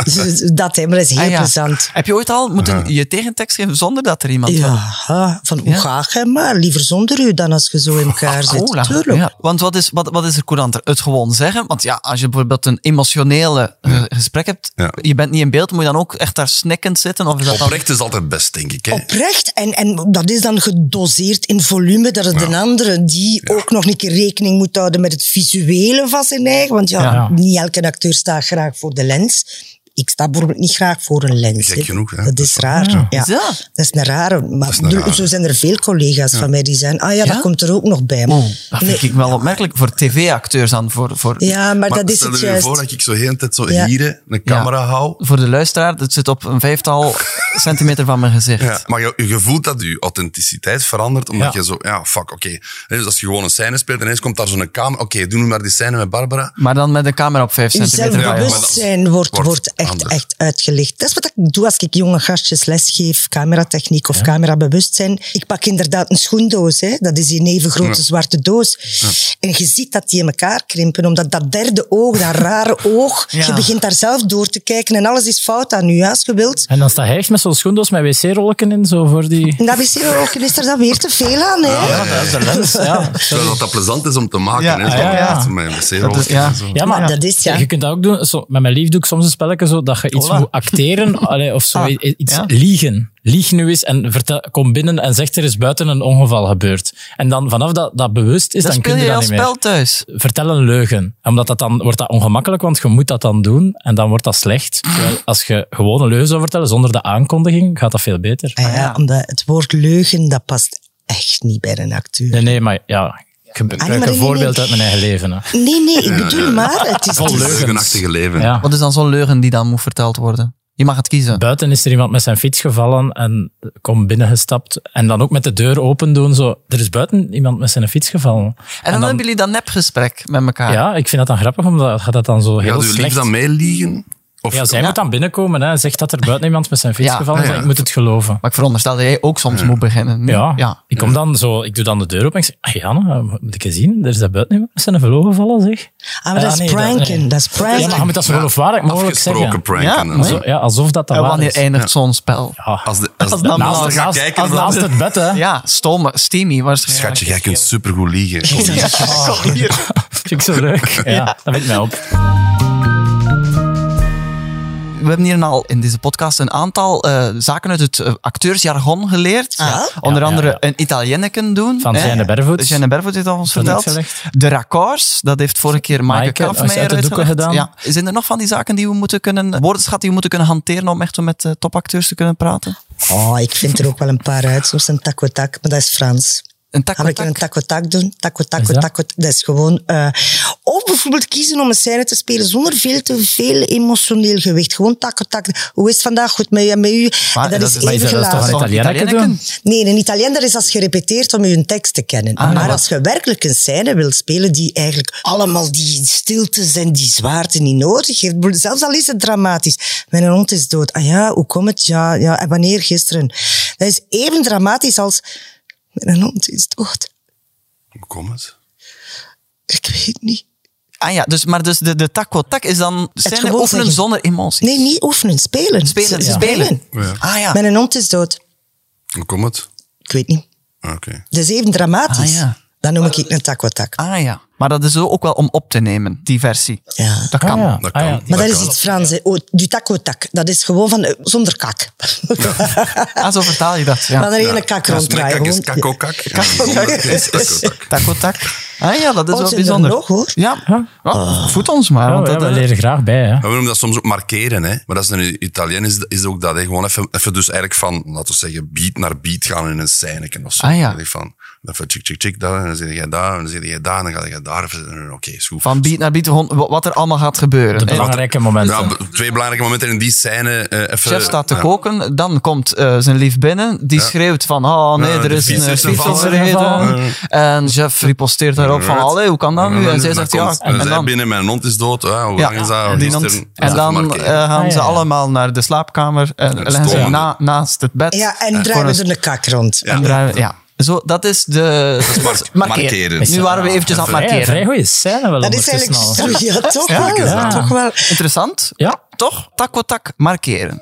E: dus dat, hè, maar dat is heel
C: Ah, ja.
E: plezant.
C: Heb je ooit al moeten je tegentekst geven zonder dat er iemand
E: Ja,
C: was?
E: ha, van hoe
C: Ja.
E: graag hè, maar liever zonder u dan als je zo in elkaar zit.
C: Cola.
E: Tuurlijk.
C: Oh, Ja. Want wat is, wat, wat is er couranter? Het gewoon zeggen. Want ja, als je bijvoorbeeld een emotionele eh, gesprek hebt,
F: Ja.
C: je bent niet in beeld, moet je dan ook echt daar snikkend zitten? Of is dat dan-
F: Oprecht is altijd best, denk ik. Hè?
E: Oprecht, en, en dat is dan gedoseerd in volume, dat het een andere die ook nog een keer rekening moet houden met het visuele van zijn eigen. Want ja,
D: Ja, ja.
E: niet elke acteur staat graag voor de lens. Ik sta bijvoorbeeld niet graag voor een lens.
F: Gek genoeg, hè.
E: Dat is raar. Ja.
C: Is dat?
E: is een rare. Maar
F: een
E: er-
F: rare.
E: zo zijn er veel collega's van mij die zijn. Ah ja,
C: Ja?
E: dat komt er ook nog bij.
C: Oeh, dat vind
E: Nee.
C: ik wel opmerkelijk. Voor tv-acteurs dan, voor, voor,
E: Ja, maar, dat is
F: stel
E: het
F: je
E: juist.
F: voor dat ik zo de hele tijd zo
E: Ja.
F: hier hè, een camera hou.
C: voor de luisteraar. Dat zit op een vijftal centimeter van mijn gezicht.
F: Ja, maar je, je voelt dat je authenticiteit verandert, omdat
D: Ja.
F: je zo, ja, fuck, oké. Hè, Dus als je gewoon een scène speelt en eens komt daar zo'n camera, oké, doe nu maar die scène met Barbara.
C: Maar dan met een camera op vijf
E: Uw
C: centimeter van je
F: maar
C: gezicht.
F: dat
E: zelfbewustzijn wordt,
F: wordt
E: wordt echt,
F: anders.
E: echt uitgelicht. Dat is wat ik doe als ik jonge gastjes lesgeef, cameratechniek of camerabewustzijn. Ik pak inderdaad een schoendoos, hè. dat is die een even grote zwarte doos. En je ziet dat die in elkaar krimpen, omdat dat derde oog, dat rare oog,
C: Ja.
E: je begint daar zelf door te kijken en alles is fout aan u, als je wilt.
D: En dan staat hij echt met zo'n schoendoos met wc-rolken in, zo voor die...
E: En dat is, ook, is er dan weer te veel aan, hè?
D: Ja, dat is de lens, ja.
F: Terwijl dat dat plezant is om te maken.
C: Ja,
F: hè, zo,
D: ja, ja.
F: zo Met een
C: Dat is- Dus ja.
F: wc-rol.
D: Ja,
E: Maar dat is, ja.
D: Je kunt dat ook doen. Zo, met mijn lief doe ik soms een spelletje zo dat je iets
C: Voilà.
D: moet acteren allee, of zo.
C: Ah,
D: i- iets
C: ja.
D: liegen. Lieg nu eens en vertel, kom binnen en zeg er is buiten een ongeval gebeurd. En dan vanaf dat dat bewust is,
C: Dan
D: dan
C: speel
D: kun je
C: je
D: dat
C: als
D: niet meer.
C: spel thuis.
D: Vertel een leugen. Omdat dat dan wordt dat ongemakkelijk, want je moet dat dan doen en dan wordt dat slecht.
C: Ah.
D: Terwijl als je gewoon een leugen zou vertellen zonder de aankondiging, gaat dat veel beter.
E: Ah ja, omdat het woord leugen, dat past echt niet bij een acteur.
D: Nee, nee, maar
C: Ah,
D: ja, ik gebruik
E: maar nee,
D: een
E: nee,
D: voorbeeld
E: nee.
D: uit mijn eigen leven. Hè.
E: Nee, nee, ik bedoel maar, het is, dus-
D: Vol
E: het is-
D: leugens.
F: Leugenachtige leven.
D: Ja.
C: Wat is dan zo'n leugen die dan moet verteld worden? Je mag het kiezen.
D: Buiten is er iemand met zijn fiets gevallen en komt binnengestapt. En dan ook met de deur open doen. Zo. Er is buiten iemand met zijn fiets gevallen. En
C: En dan, hebben jullie dat nepgesprek met elkaar.
D: Ja, ik vind dat dan grappig, omdat gaat dat dan zo heel
F: Gaat Ah. uw lief
D: slecht...
F: dan meeliegen? Of
D: ja, zij
C: Ja.
D: moet dan binnenkomen hè, en zegt dat er buiten iemand met zijn fiets
C: Ja.
D: gevallen is.
F: Ja, ja.
D: Ik moet het geloven.
C: Maar ik veronderstel dat jij ook soms moet beginnen. Nee?
D: Ja. ik kom dan zo, ik doe dan de deur open en ik zeg, ah, Jana, eh, moet ik eens zien? Er is daar buiten iemand met zijn velo gevallen, zeg.
E: ah, maar dat is
D: nee,
E: pranken,
D: nee.
E: dat is
D: Ja, maar
E: pranken.
D: je moet dat zo geloofwaardig mogelijk
F: afgesproken
D: zeggen.
F: pranken?
C: Ja,
F: en
C: nee.
F: zo.
D: Zo, ja, alsof dat dat
C: En
D: waar
C: wanneer
D: is.
C: eindigt zo'n spel?
D: Ja.
F: Als de, als
C: dan
F: naast
C: maar-
F: er gaat
D: naast-
F: kijken,
D: als
F: dan-
D: naast het bed, hè.
C: Ja, stomme, steamy waarschijnlijk.
F: Schatje, jij kunt supergoed liegen.
D: Vind ik zo leuk. Ja, dat vind ik nou mij op.
C: We hebben hier al in deze podcast een aantal eh, zaken uit het eh, acteursjargon geleerd.
E: Ah.
C: Onder
D: Ja, ja,
C: andere
D: ja.
C: een Italienneken doen.
D: Van
C: hè.
D: Jeanne Bervoets.
C: Jeanne Bervoets heeft al ons
D: Dat
C: verteld.
D: heb ik verlegd.
C: De raccords, dat heeft vorige keer Maaike
D: Maaike, als je
C: Kaufmeijer
D: uit de doeken
C: uitgelegd.
D: gedaan.
C: Ja. Zijn er nog van die zaken die we moeten kunnen, woordenschat die we moeten kunnen hanteren om echt zo met eh, topacteurs te kunnen praten?
E: Oh, ik vind er ook wel een paar uit. Soms een takotak, maar dat is Frans.
C: Een
E: Gaan we een keer een
C: takotak?
E: takotak doen?
D: Wat
E: Takotak,
D: is dat?
E: takotak. Dat is gewoon... eh, of bijvoorbeeld kiezen om een scène te spelen zonder veel te veel emotioneel gewicht. Gewoon takotak. Hoe is het vandaag? Goed met je, met u?
C: Maar
E: En dat
C: dat
E: is
C: is-
D: Maar
E: even
D: is Ah, dat, dat is toch
E: gelaten.
D: een
C: Van
D: Italiaan doen?
C: Italiaanneken?
E: Nee, een Italianer is als je repeteert om je een tekst te kennen.
C: Ah,
E: maar als je werkelijk een scène wilt spelen die eigenlijk allemaal die stiltes en die zwaarte niet nodig heeft, zelfs al is het dramatisch. Mijn hond is dood. Ah ja, hoe komt het? Ja, ja, en wanneer gisteren? Dat is even dramatisch als mijn hond is dood.
F: Hoe komt het?
E: Ik weet niet.
C: Ah ja, dus, maar dus de, de takotak is dan scène
E: gewoon
C: oefenen
E: zeggen.
C: zonder emoties.
E: Nee, niet oefenen, spelen.
C: Spelen,
E: Ze-
C: spelen. Ah ja.
E: Mijn hond is dood.
F: Hoe komt het? Ah,
E: Ik weet niet.
F: Oké.
E: Dat is even dramatisch.
C: Ah, ja.
E: Dat noem ik een takwatak.
C: Ah ja. Maar dat is ook wel om op te nemen, die versie.
E: Ja.
C: Dat kan.
D: Ah, ja.
F: Dat
D: Ah,
F: kan.
D: ja.
E: Maar dat, is
F: kan.
E: iets Frans. hè. Oh, du takotak. Dat is gewoon van eh, zonder kak.
C: Ah, zo vertaal je dat.
E: Maar
C: Ja.
E: er hele kak
F: Ja,
E: ronddraaien.
F: smekkak is
E: gewoon.
F: kakokak.
E: Is- is-
C: Takotak. Ah ja, dat is
E: Oh,
C: wel
E: zijn er
C: bijzonder.
E: nog, hoor.
C: Ja,
F: Ah.
C: Ja, voed ons maar.
D: Ja,
C: want
D: ja,
C: dat,
D: we
C: eh,
D: leren graag bij. Hè.
F: Maar we noemen dat soms ook markeren. Hè? Maar als het een Italiaan is, is het ook dat. Hè? Gewoon even, even dus eigenlijk van, laten we zeggen, beat naar beat gaan in een scène of zo.
C: Ah, ja.
F: Dat je Van, even chick, chick, chick, daar, en dan zeg jij daar, en dan zeg jij daar, en dan ga je daar. even- en Oké, is goed.
C: van beat naar beat, gewoon wa- wat er allemaal gaat gebeuren.
D: De
C: Eh,
D: belangrijke momenten.
F: Ja, b- twee belangrijke momenten in die scène. eh even,
C: Chef staat te
F: ja.
C: koken, dan komt eh, zijn lief binnen. Die schreeuwt van, oh nee,
F: Ja,
C: er
F: de
C: is
F: fiets
C: een eh,
F: is
C: fiets
F: gevallen.
C: overreden. En chef riposteert daarop van,
F: Right.
C: allee, hoe kan dat nu? En zij
F: dan
C: zegt,
F: komt-
C: ja, en
F: zij
C: dan...
F: binnen, mijn hond is dood. Ja, hoe
C: Ja,
F: lang is dat?
C: en dan,
F: Gisteren. Dat
C: en
F: is even
C: dan eh,
F: markeren.
C: gaan
D: Ah,
C: ze
D: ja.
C: allemaal naar de slaapkamer en leggen ze
F: stomen.
C: na, naast het bed.
E: Ja, en
C: Voor
E: draaien
C: een-
E: we er een kak rond.
C: en draaien- ja. Zo, dat is de...
F: mark- markeren.
C: Nu waren we eventjes aan het
D: Vrij, vrij
C: markeren.
D: goede scène wel
E: Dat is
D: ondertussen
E: eigenlijk...
D: al.
E: Ja, toch wel.
F: Ja.
E: Toch wel.
C: Interessant.
D: Ja.
C: Toch? Takotak markeren.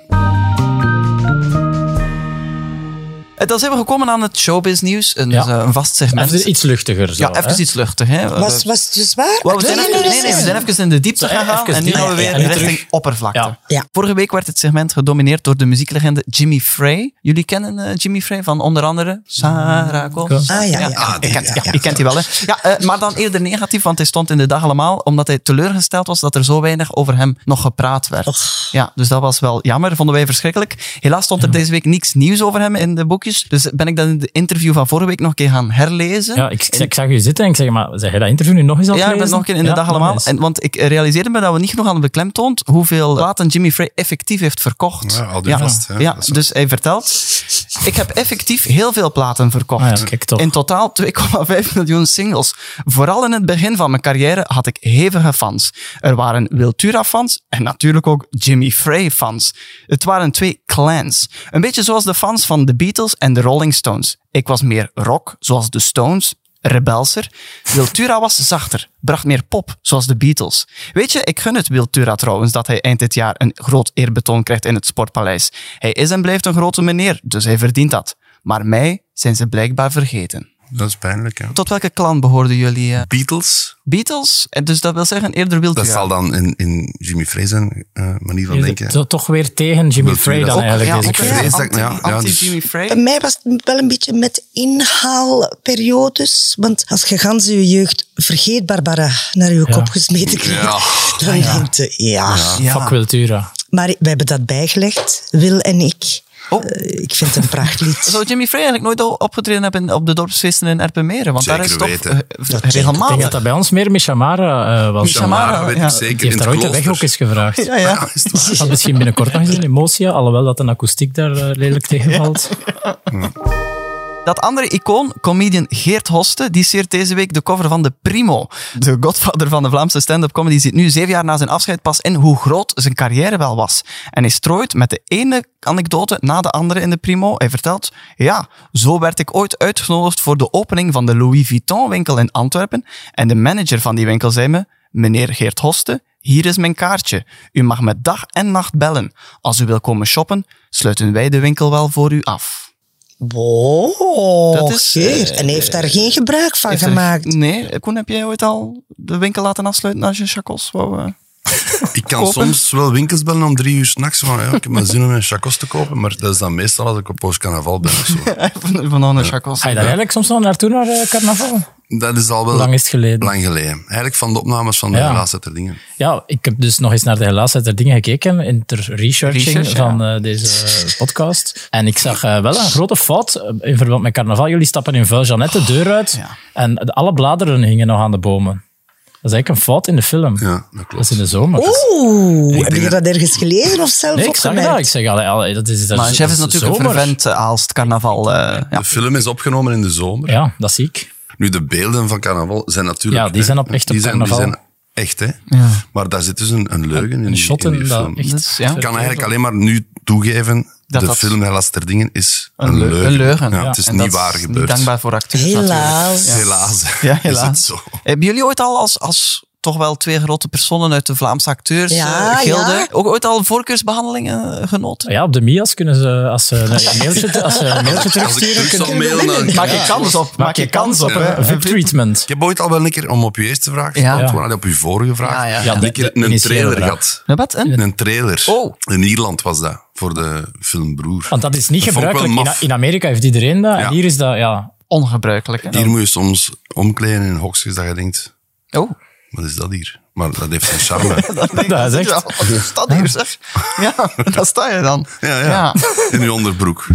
C: En Eh, dan zijn we gekomen aan het showbiz nieuws. Een,
D: Ja.
C: eh, een vast segment.
D: Even iets luchtiger. Zo,
C: ja, even
D: hè.
C: iets luchtig. Hè?
E: Was, was het dus waar?
C: Wel, we, zijn
E: Nee,
C: even,
E: nee,
C: nee, nee,
E: nee.
C: we zijn even in de diepte
D: Zo, even
C: gegaan en nu
D: diep.
C: gaan we
D: Ja,
C: weer
D: ja,
C: richting
D: terug.
C: oppervlakte.
D: Ja.
E: Ja.
C: Vorige week werd het segment gedomineerd door de muzieklegende Jimmy Frey. Jullie kennen eh, Jimmy Frey van onder andere Sarah Connor.
E: Ah, ja, ja. Ah,
C: je
E: die,
C: kent,
E: ja,
C: ja,
E: ja.
C: je kent die wel, hè? Ja, eh, maar dan eerder negatief, want hij stond in de dag allemaal omdat hij teleurgesteld was dat er zo weinig over hem nog gepraat werd. Ja, dus dat was wel jammer, vonden wij verschrikkelijk. Helaas stond er deze week niks nieuws over hem in de boekjes. Dus ben ik dat in de interview van vorige week nog een keer gaan herlezen.
D: Ja, ik, ik zag u zitten en ik zeg, maar zeg je dat interview nu nog eens aan het
C: Ja, ik ben
D: lezen?
C: nog een in de
D: Ja,
C: dag allemaal.
D: eens.
C: En, want ik eh, realiseerde me dat we niet genoeg hadden beklemtoond hoeveel platen Jimmy Frey effectief heeft verkocht.
F: Ja, al die vast, hè.
C: ja,
F: Dat is wel-
C: dus hij vertelt, ik heb effectief heel veel platen verkocht.
D: Ah ja, kijk toch.
C: In totaal 2,5 miljoen singles. Vooral in het begin van mijn carrière had ik hevige fans. Er waren Wiltura-fans en natuurlijk ook Jimmy Frey-fans. Het waren twee clans. Een beetje zoals de fans van de Beatles en de Rolling Stones. Ik was meer rock, zoals de Stones, rebelser. Wiltura was zachter, bracht meer pop, zoals de Beatles. Weet je, ik gun het Wiltura trouwens dat hij eind dit jaar een groot eerbetoon krijgt in het Sportpaleis. Hij is en blijft een grote meneer, dus hij verdient dat. Maar mij zijn ze blijkbaar vergeten.
F: Dat is pijnlijk, ja.
C: Tot welke clan behoorden jullie? eh?
F: Beatles,
C: Beatles? En Dus dat wil zeggen eerder Wiltura.
F: dat zal dan in, in Jimmy Frey zijn eh, manier van denken.
D: Zo- Toch weer tegen Jimmy
F: Dat
D: Frey
F: vind ik
D: dan
F: ook-
D: eigenlijk.
C: ja,
D: deze
C: ook
D: keer.
F: ja.
C: weer
F: vrees dat ik- ja,
C: anti-
F: ja, dus-
C: anti-Jimmy Frey.
E: Bij mij was het wel een beetje met inhaalperiodes. Want als je gans je jeugd vergeet, Barbara, naar je kop gesmeten krijgt,
F: Ja.
E: dan denk je, ja.
D: Fuck Wiltura.
E: Maar we hebben dat bijgelegd, Wil en ik.
C: Oh.
E: Eh, ik vind het een prachtlied.
C: Zou Jimmy Frey eigenlijk nooit al opgetreden hebben in- op de dorpsfeesten in Erpenmeren? Want daar
F: Zeker
C: is toch
F: weten.
C: eh,
E: Dat
D: Ik denk dat
C: regelmatig...
D: dat bij ons meer Mishamara eh was.
C: Misha
D: Die
C: Mara,
F: Maar dat weet
C: ja.
F: ik zeker.
D: heeft
F: in
D: daar
F: het
D: ooit de weg ook
F: klooster.
D: eens gevraagd.
C: Ja, ja.
F: Ja, is het waar?
D: Dat misschien binnenkort nog eens een emotie, alhoewel dat een akoestiek daar eh, lelijk tegenvalt.
C: Dat andere icoon, comedian Geert Hoste, die seert deze week de cover van de Primo. De godvader van de Vlaamse stand-up comedy zit nu zeven jaar na zijn afscheid pas in hoe groot zijn carrière wel was. En hij strooit met de ene anekdote na de andere in de Primo. Hij vertelt, ja, zo werd ik ooit uitgenodigd voor de opening van de Louis Vuitton winkel in Antwerpen. En de manager van die winkel zei me, meneer Geert Hoste, hier is mijn kaartje. U mag me dag en nacht bellen. Als u wil komen shoppen, sluiten wij de winkel wel voor u af.
E: Wow,
C: Dat is,
E: Geer.
C: eh,
E: En hij heeft daar geen gebruik van
C: Heeft er-
E: gemaakt.
C: nee, Koen, heb jij ooit al de winkel laten afsluiten als je chacos wou... eh?
F: Ik kan
C: Kopen.
F: soms wel winkels bellen om drie uur s'nachts. Van, ja, ik heb mijn zin om een chacos te kopen, maar dat is dan meestal als ik op Post-Carnaval ben of zo.
C: eh, van van Anne chacos.
D: Ga je daar eigenlijk soms nog naartoe naar eh, carnaval?
F: Dat is al wel
D: Lang is het geleden.
F: lang geleden. Eigenlijk van de opnames van de
D: Ja.
F: laatste ter dingen.
D: Ja, ik heb dus nog eens naar de helaasheid der dingen gekeken in ter researching
C: Research, ja.
D: van eh, deze eh, podcast. En ik zag eh, wel een grote fout eh, in verband met carnaval. Jullie stappen in vuiljanet de deur uit
C: ja.
D: en de- alle bladeren hingen nog aan de bomen. Dat is eigenlijk een fout in de film.
F: Ja, dat
D: Dat is
F: klopt.
D: in de zomer.
E: Oeh, heb
F: denk
E: je dat ergens gelezen of zelf
D: Nee, ik zag
E: opgemerkt?
D: dat. Ik zeg, allee, allee, dat is, dat
C: Maar
D: is-
C: chef is
D: dat is
C: natuurlijk een
D: zomer.
C: vervent eh, Aalst carnaval. eh, ja.
F: De film is opgenomen in de zomer.
D: Ja, dat zie ik.
F: Nu, de beelden van carnaval zijn natuurlijk...
D: Ja, die zijn op echte
F: die zijn, die
D: carnaval.
F: zijn echt, hè. Maar daar zit dus een, een leugen in,
D: Een
F: die,
D: shot
F: in die
D: en dat
F: film.
D: echt
C: Dat is- ja.
F: Ik kan eigenlijk alleen maar nu toegeven,
C: Dat
F: de
C: dat-
F: film Helaas ter dingen is
C: Een,
F: een,
C: leu-
F: leugen.
C: een leugen.
F: Ja, Het is
C: En dat
F: niet waar
C: Niet
F: gebeurd.
C: dankbaar voor acteurs natuurlijk.
E: Helaas.
F: Helaas.
C: Ja,
F: Is het
C: helaas.
F: zo.
C: Hebben jullie ooit al als, als toch wel twee grote personen uit de Vlaamse
E: Ja,
C: acteursgilde.
E: ja.
C: Ook ooit al voorkeursbehandelingen eh, genoten?
D: Ja, op de Mias kunnen ze, als ze een mailtje, als ze een mailtje
F: Als ik
D: terugsturen,
F: terug zal
D: kunnen-
F: mailen, dan...
C: Maak je kans op.
D: maak je kans op.
F: Ja.
D: hè. VIP treatment.
F: Ik heb ooit al wel een keer, om op je eerste vraag te
C: Ja.
F: antwoorden, allee, op uw vorige vraag,
C: Ja, ja.
D: Ja, de-
F: een keer
D: de
F: een
D: initiële
F: trailer
D: vraag.
F: gehad.
C: Een Wat? Een?
F: Een trailer.
C: Oh.
F: In Ierland was dat, voor de film Broer.
D: Want dat is niet
F: Dat vond ik wel
D: gebruikelijk. In,
F: maf.
D: in Amerika heeft iedereen dat.
F: Ja.
D: En hier is dat, ja.
C: Ongebruikelijk. hè?
F: Hier moet je soms omkleden in hokjes dat je denkt,
C: Oh,
F: wat is dat hier? Maar dat heeft zijn charme.
D: Dat is echt-
C: Ja, Wat is dat hier, zeg? Ja, daar sta je dan.
F: Ja, ja. In uw onderbroek.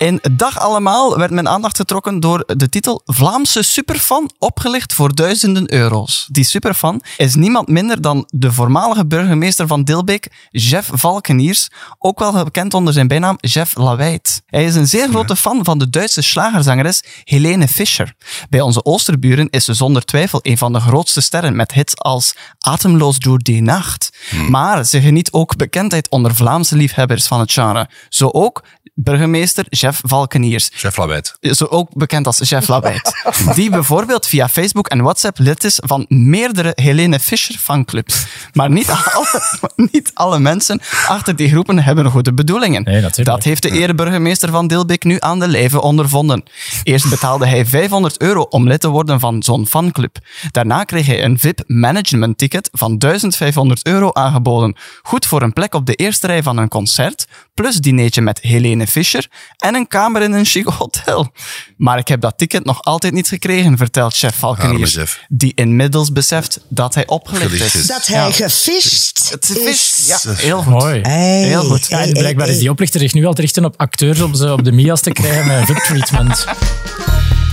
C: In Dag Allemaal werd mijn aandacht getrokken door de titel Vlaamse superfan opgelicht voor duizenden euro's. Die superfan is niemand minder dan de voormalige burgemeester van Dilbeek, Jeff Valkeniers, ook wel bekend onder zijn bijnaam Jeff Lawijt. Hij is een zeer grote fan van de Duitse slagerzangeres Helene Fischer. Bij onze Oosterburen is ze zonder twijfel een van de grootste sterren met hits als Atemloos door die nacht.
D: Hmm.
C: Maar ze geniet ook bekendheid onder Vlaamse liefhebbers van het genre. Zo ook burgemeester Jeff Valkeniers.
F: Chef Lawijt.
C: Zo ook bekend als Jeff Labbeit. Die bijvoorbeeld via Facebook en WhatsApp lid is van meerdere Helene Fischer fanclubs. Maar niet alle, niet alle mensen achter die groepen hebben goede bedoelingen.
D: Nee, natuurlijk.
C: Dat heeft de ereburgemeester van Dilbeek nu aan de lijve ondervonden. Eerst betaalde hij 500 euro om lid te worden van zo'n fanclub. Daarna kreeg hij een VIP-management-ticket van 1500 euro aangeboden. Goed voor een plek op de eerste rij van een concert, plus dinertje met Helene Fischer en een kamer in een chic hotel. Maar ik heb dat ticket nog altijd niet gekregen, vertelt chef Valkeniers,
F: Arme chef.
C: die inmiddels beseft dat hij opgelicht
F: Gelicht
C: is.
F: is.
E: Dat hij
C: Ja.
E: gevist
C: Het is, ja,
F: Jezus.
C: heel goed.
D: Mooi.
E: Hey,
C: Heel goed.
D: Ja, en blijkbaar is die oplichter zich nu al te richten op acteurs om ze op de Mias te krijgen met VIP treatment.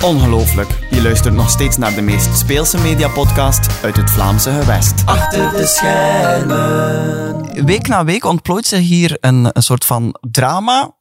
G: Ongelooflijk, je luistert nog steeds naar de meest speelse mediapodcast uit het Vlaamse gewest.
C: Week na week ontplooit zich hier een, een soort van drama.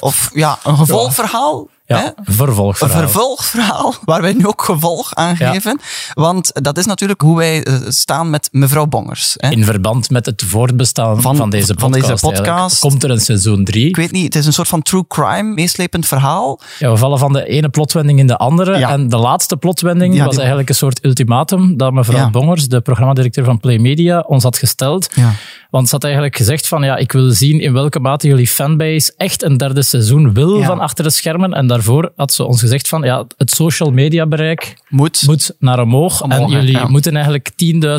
C: Of ja, een gevolgverhaal. hè?
D: Ja,
C: Een
D: vervolgverhaal.
C: vervolgverhaal, waar wij nu ook gevolg aan
D: Ja.
C: geven. Want dat is natuurlijk hoe wij eh, staan met mevrouw Bongers. Hè?
D: In verband met het voortbestaan
C: Van-
D: van, deze
C: van
D: podcast.
C: deze
D: eigenlijk.
C: podcast.
D: Komt er een seizoen 3.
C: Ik weet niet, het is een soort van true crime, meeslepend verhaal.
D: Ja, we vallen van de ene plotwending in de andere.
C: Ja.
D: En de laatste plotwending
C: Ja,
D: was
C: die-
D: eigenlijk een soort ultimatum dat mevrouw
C: Ja.
D: Bongers, de programmadirecteur van Play Media, ons had gesteld.
C: Ja.
D: Want ze had eigenlijk gezegd van ja, ik wil zien in welke mate jullie fanbase echt een derde seizoen wil
C: Ja.
D: van achter de schermen. En daarvoor had ze ons gezegd van ja, het social media bereik
C: Moet.
D: moet naar omhoog.
C: Omhoog,
D: en jullie
C: ja.
D: moeten eigenlijk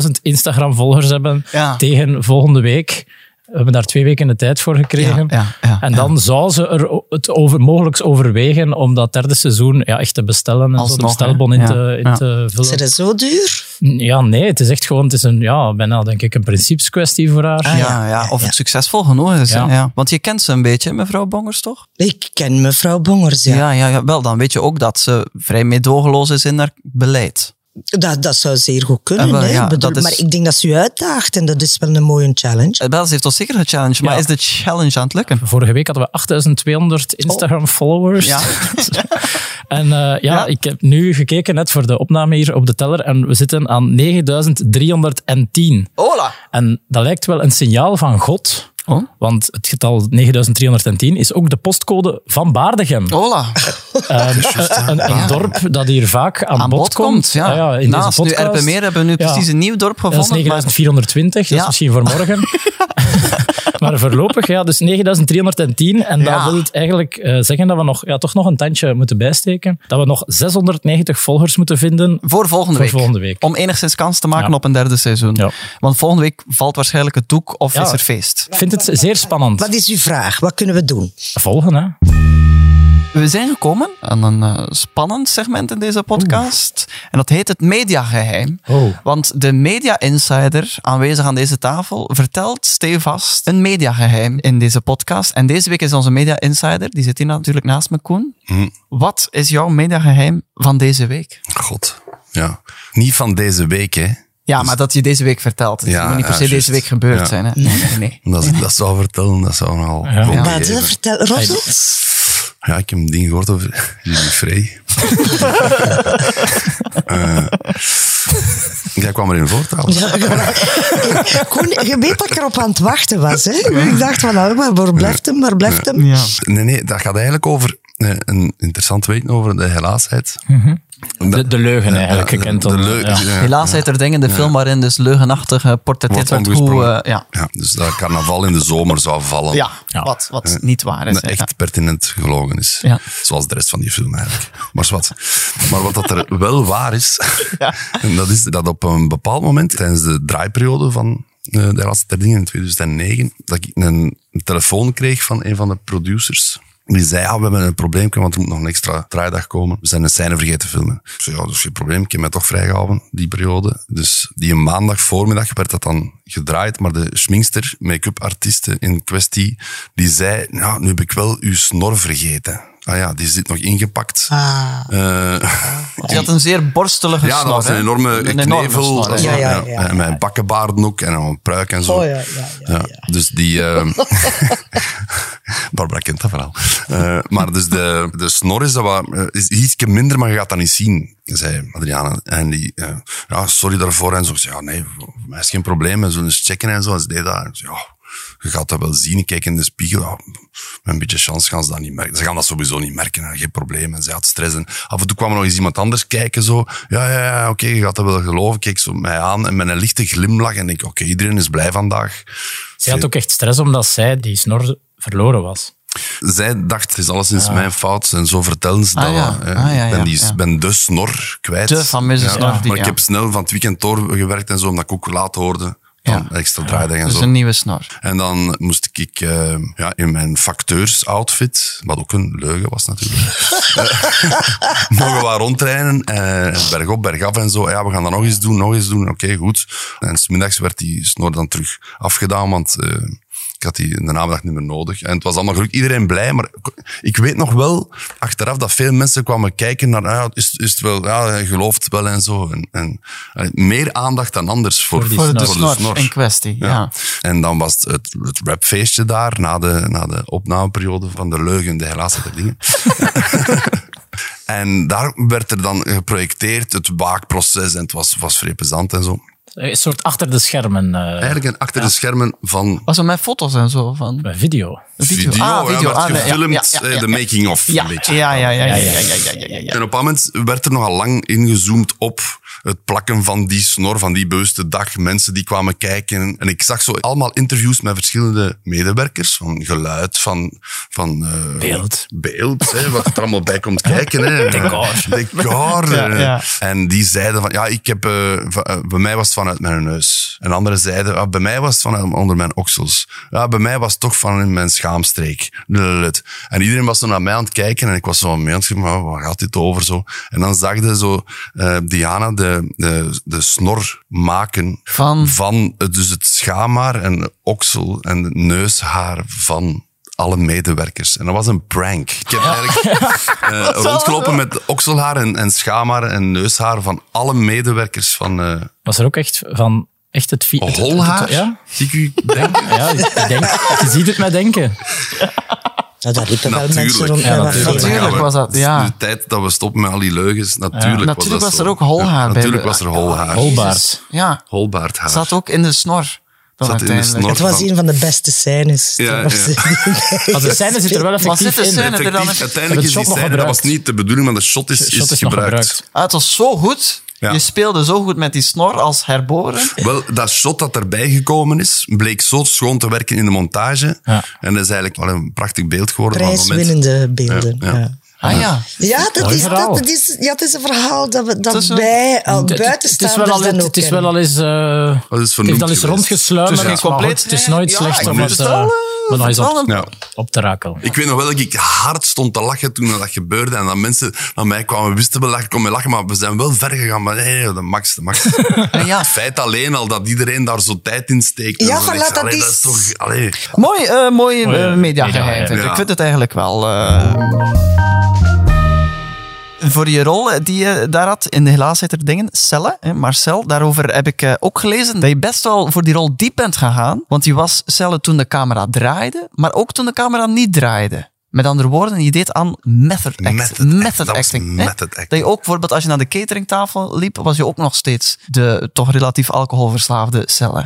D: 10.000 Instagram volgers hebben
C: Ja.
D: tegen volgende week. We hebben daar twee weken de tijd voor gekregen.
C: Ja, ja, ja,
D: en dan zou ze er o- het over, mogelijk overwegen om dat derde seizoen ja, echt te bestellen. En zo de
C: Alsnog, hè?
D: bestelbon in,
C: Ja,
D: te, in
C: ja.
D: te
E: Is
D: vullen.
E: het zo duur?
D: Ja, nee, het is echt gewoon, het is een, ja, bijna denk ik een principeskwestie voor haar.
C: Ja, ja, of het succesvol genoeg is. hè? Ja.
D: Ja.
C: Want je kent ze een beetje, mevrouw Bongers, toch?
E: Ik ken mevrouw Bongers, ja.
C: ja, ja, ja. Wel, dan weet je ook dat ze vrij meedogenloos is in haar beleid.
E: Dat, dat zou zeer goed kunnen.
C: Eh, wel,
E: hè.
C: ja,
E: Ik bedoel,
C: dat is-
E: Maar ik denk dat ze u uitdaagt en dat is wel een mooie challenge.
C: Eh, Wel, ze heeft ons zeker gechallenged, maar
D: Ja.
C: is de challenge aan het lukken?
D: Vorige week hadden we 8200 Instagram-followers.
C: Oh. Ja.
D: en eh, ja,
C: Ja.
D: ik heb nu gekeken net voor de opname hier op de teller en we zitten aan 9310.
C: Hola!
D: En dat lijkt wel een signaal van God.
C: Oh.
D: Want het getal 9310 is ook de postcode van Baardegem.
C: Hola!
D: Ehm, een, een dorp dat hier vaak aan,
C: Aan
D: bod,
C: bod komt, ja.
D: Ah in
C: Naast
D: deze
C: nu
D: podcast.
C: RP Meer hebben we nu
D: Ja.
C: precies een nieuw dorp gevonden.
D: Dat is
C: maar-
D: 9420, dat
C: Ja.
D: is misschien voor morgen. maar voorlopig, ja, dus 9310. En
C: Ja.
D: dat wil het eigenlijk eh, zeggen dat we nog, ja, toch nog een tandje moeten bijsteken. Dat we nog 690 volgers moeten vinden.
C: Voor volgende
D: Voor
C: week.
D: volgende week.
C: Om enigszins kans te maken
D: Ja.
C: op een derde seizoen.
D: Ja.
C: Want volgende week valt waarschijnlijk het doek of
D: Ja.
C: is er feest.
D: Ik vind het zeer spannend.
E: Wat is uw vraag? Wat kunnen we doen?
D: Volgen, hè?
C: We zijn gekomen aan een eh, spannend segment in deze podcast. En dat heet het mediageheim.
D: Oh.
C: Want de media insider aanwezig aan deze tafel vertelt stevast een mediageheim in deze podcast. En deze week is onze media insider, die zit hier natuurlijk naast me, Koen. Wat is jouw mediageheim van deze week?
F: God. Ja. Niet van deze week, hè.
C: Ja, maar dat je deze week vertelt. Dus
F: Ja,
C: het moet niet per
F: ja,
C: se
F: juist.
C: deze week gebeurd
F: Ja.
C: zijn. Hè? Nee, nee, nee.
F: Dat, ik dat zou vertellen, dat zou nogal...
D: Ja.
F: Ja.
E: Wat, hè? vertel, Rossel?
F: Ja, ik heb een ding gehoord over Jimmy Frey. Eh, jij kwam erin voor trouwens.
E: Ja, gewoon- Koen, je weet dat ik erop aan het wachten was. Hè? Ik dacht van, nou, maar waar blijft hem, waar blijft hem?
C: Ja.
F: Nee, nee, dat gaat eigenlijk over eh, een interessant weten over de helaasheid.
D: De, de leugen eigenlijk
F: Ja,
D: gekend.
F: de-
D: dan,
F: de leu-
D: ja.
F: ja.
C: Helaas heet er dingen de film waarin dus leugenachtig geportretteerd
F: Wordt
C: wordt hoe...
F: omgesprongen.
C: eh, ja,
F: Ja, dus dat carnaval in de zomer zou vallen.
C: ja,
D: Ja.
C: Wat, wat niet waar is.
F: Dat echt pertinent gelogen is.
C: Ja.
F: Zoals de rest van die film eigenlijk. Maar wat, maar wat dat er wel waar is, en dat is dat op een bepaald moment tijdens de draaiperiode van eh, de laatste ter dingen in 2009, dat ik een telefoon kreeg van een van de producers. Die zei, ah, we hebben een probleem, want er moet nog een extra draaidag komen. We zijn een scène vergeten filmen. Ik zei, ja, dat is geen probleem, ik heb mij toch vrijgehouden, die periode. Dus die maandag voormiddag werd dat dan gedraaid, maar de schminkster, make-up artiesten in kwestie, die zei, nou, nu heb ik wel uw snor vergeten. Ah ja, die zit nog ingepakt.
E: Ah.
F: Eh,
C: Dus Je had een zeer borstelige
F: ja, dat was een
C: hè?
F: enorme
C: Een enorme
F: knevel.
C: snor,
E: Ja,
C: ja.
E: ja, ja, ja.
F: En mijn bakkenbaarden ook en een pruik en zo.
E: Oh, ja, ja, ja,
F: Dus die... eh, Barbara kent dat verhaal. Eh, maar dus de, de snor is, dat wat, eh, is ietsje minder, maar je gaat dat niet zien, zei Adriana. En die, eh, ja, sorry daarvoor. En zo, Ik zei, ja, nee, voor mij is geen probleem. We zullen eens checken en zo. En ze deed dat. En ik zei, ja, je gaat dat wel zien. Ik kijk in de spiegel. Ja, met een beetje chance gaan ze dat niet merken. Ze gaan dat sowieso niet merken. hè. Geen probleem. En ze had stress. En af en toe kwam er nog eens iemand anders kijken. Zo. Ja, ja, ja oké, je gaat dat wel geloven. Ik Keek zo mij aan. En met een lichte glimlach. En ik, oké, iedereen is blij vandaag.
D: Zij had ook echt stress omdat zij die snor verloren was.
F: Zij dacht, het is alleszins mijn fout. En zo vertelden ze
C: Ah,
F: dat.
C: ja.
F: wel, hè.
C: Ah, ja,
F: ik ben,
C: ja,
F: die,
C: ja.
F: ben de snor kwijt.
C: De fameuze snor die-
F: maar ik
C: ja.
F: heb snel van het weekend doorgewerkt en zo, omdat ik ook laat hoorde. Van extra draaidag en
C: Dus
F: zo.
C: een nieuwe snor.
F: En dan moest ik eh, ja, in mijn facteursoutfit, wat ook een leugen was natuurlijk, eh, mogen we rondtrainen. eh bergop, bergaf en zo. Ja, we gaan dat nog eens doen, nog eens doen. Oké, goed. En smiddags werd die snor dan terug afgedaan, want eh, ik had die in de namiddag niet meer nodig. En het was allemaal gelukkig iedereen blij, maar ik- ik weet nog wel achteraf dat veel mensen kwamen kijken naar, ah, ja, is, is het wel, ja, hij gelooft het wel en zo. En, en, eh, meer aandacht dan anders voor,
D: Voor die
F: voor
D: snor.
F: de
D: De
C: Snor
F: snor.
C: in kwestie, ja.
F: Ja. En dan was het, het, het rapfeestje daar, na de, na de opnameperiode van de leugen, de helaas dat er dingen. en daar werd er dan geprojecteerd het waakproces en het was, was vrij plezant en zo.
D: Een soort achter de schermen eh,
F: Eigenlijk een achter de schermen van
C: Was het met foto's en zo? Van
D: video.
F: video,
C: Ah,
F: ja,
C: video.
F: werd
C: Ah, nee, ja,
F: gefilmd,
C: ja, ja,
F: eh, de making-of
C: Ja,
F: een beetje.
C: ja, ja, ja, ja, ja, ja, ja, ja, ja.
F: En op een moment werd er nogal lang ingezoomd op het plakken van die snor, van die bewuste dag. Mensen die kwamen kijken. En ik zag zo allemaal interviews met verschillende medewerkers. Van geluid, van... van eh,
D: Beeld.
F: Beeld, hè, wat er allemaal bij komt kijken. Hè.
D: Decor.
F: Decor.
C: Ja,
F: eh.
C: ja.
F: En die zeiden van... Ja, ik heb... eh, va- eh, bij mij was het vanuit mijn neus. En anderen zeiden... ah, bij mij was het van onder mijn oksels. Ja, bij mij was het toch van in mijn schaamstreek. Lululul. En iedereen was zo naar mij aan het kijken. En ik was zo aan mij aan het kijken, maar waar gaat dit over? Zo. En dan zag je zo eh, Diana de, de, de snor maken
C: Van?
F: van eh, dus het schaamhaar en oksel en neushaar van alle medewerkers. En dat was een prank. Ik heb eigenlijk eh, rondgelopen met okselhaar en, en schaamhaar en neushaar van alle medewerkers van eh,
D: Was er ook echt van echt het... vi- het- het- het-
F: holhaar.
D: Ja,
F: Zie ik u denken?
D: ja ik denk, je ziet het mij denken.
E: Nou, daar liepen wel
F: Natuurlijk.
E: mensen rond
F: Ja,
E: met wat
D: natuurlijk.
E: veren.
C: Natuurlijk
F: Ja,
C: was dat,
F: het is
C: ja.
F: De tijd dat we stoppen met al die leugens, natuurlijk was
C: Natuurlijk
F: dat
C: was
F: zo.
C: er ook holhaar
F: Ja,
C: bij
F: Natuurlijk
C: de-
F: was er
D: Ah,
F: holhaar.
D: Holbaard.
C: Ja,
F: Holbaardhaar.
C: zat ook in de snor. Dan
F: Zat in de
C: uiteindelijk.
F: snor.
E: Het was
F: Van-
E: een van de beste scènes. Dat
F: Ja,
E: was-
D: Want de scène zit er wel
C: Was dit
D: effectief
C: de
D: in.
C: scène? er dan
F: Effectief,
C: eens-
F: uiteindelijk is
D: Hebben
F: die
D: het shot nog
F: scène, dat was
D: gebruikt?
F: niet de bedoeling, maar de shot is,
D: Shot
F: is
D: is nog
F: gebruikt.
D: gebruikt.
C: Ah, het was zo goed.
F: Ja.
C: Je speelde zo goed met die snor als herboren.
F: Wel, dat shot dat erbij gekomen is, bleek zo schoon te werken in de montage.
D: Ja.
F: En dat is eigenlijk wel een prachtig beeld geworden. van het moment.
E: Prijswinnende beelden.
F: Ja, ja.
E: ja.
C: Ah ja.
E: Ja, dat
D: Mooi
E: is,
D: verhaal.
E: dat, dat is, ja, het is een verhaal dat, we, dat
C: Tussen-
E: wij al
D: Het- het- Het is wel
E: buitenstaanders
D: al,
E: dan ook
D: het is wel al eens, eh,
F: Dat is
D: het
F: vernoemd
D: is al eens
F: geweest.
D: rondgesluimerd.
C: Het is
D: maar
C: geen compleet-
D: goed, Het is nooit
C: Ja, ik
D: slecht om
C: moet
D: het
C: het
D: eh,
C: wel, eh,
D: om nog eens op,
C: vertellen.
F: Ja.
D: op te rakelen.
F: Ik weet nog wel dat ik hard stond te lachen toen dat gebeurde. En dat mensen naar mij kwamen, wisten wel dat ik kon mee lachen. Maar we zijn wel ver gegaan. Maar nee, de max, de max.
C: ja.
F: Het feit alleen al dat iedereen daar zo tijd in steekt.
E: Ja,
F: En zo
E: voilà,
F: niks.
E: dat
F: Allee,
E: is-
F: dat is toch... Allee.
C: Mooi, eh mooi eh,
D: Mooi, eh,
C: mediageheim.
D: mediageheim.
C: vind ik.
F: Ja.
C: Ik vind het eigenlijk wel. eh. Voor je rol eh, die je daar had in de Helaas heet er dingen, Celle, hè, Marcel, daarover heb ik eh, ook gelezen dat je best wel voor die rol diep bent gegaan. Want je was Celle toen de camera draaide, maar ook toen de camera niet draaide. Met andere woorden, je deed aan method, act,
F: Method act, dat was
C: acting. hè.
F: method acting.
C: Dat je ook bijvoorbeeld als je naar de cateringtafel liep, was je ook nog steeds de toch relatief alcoholverslaafde Celle.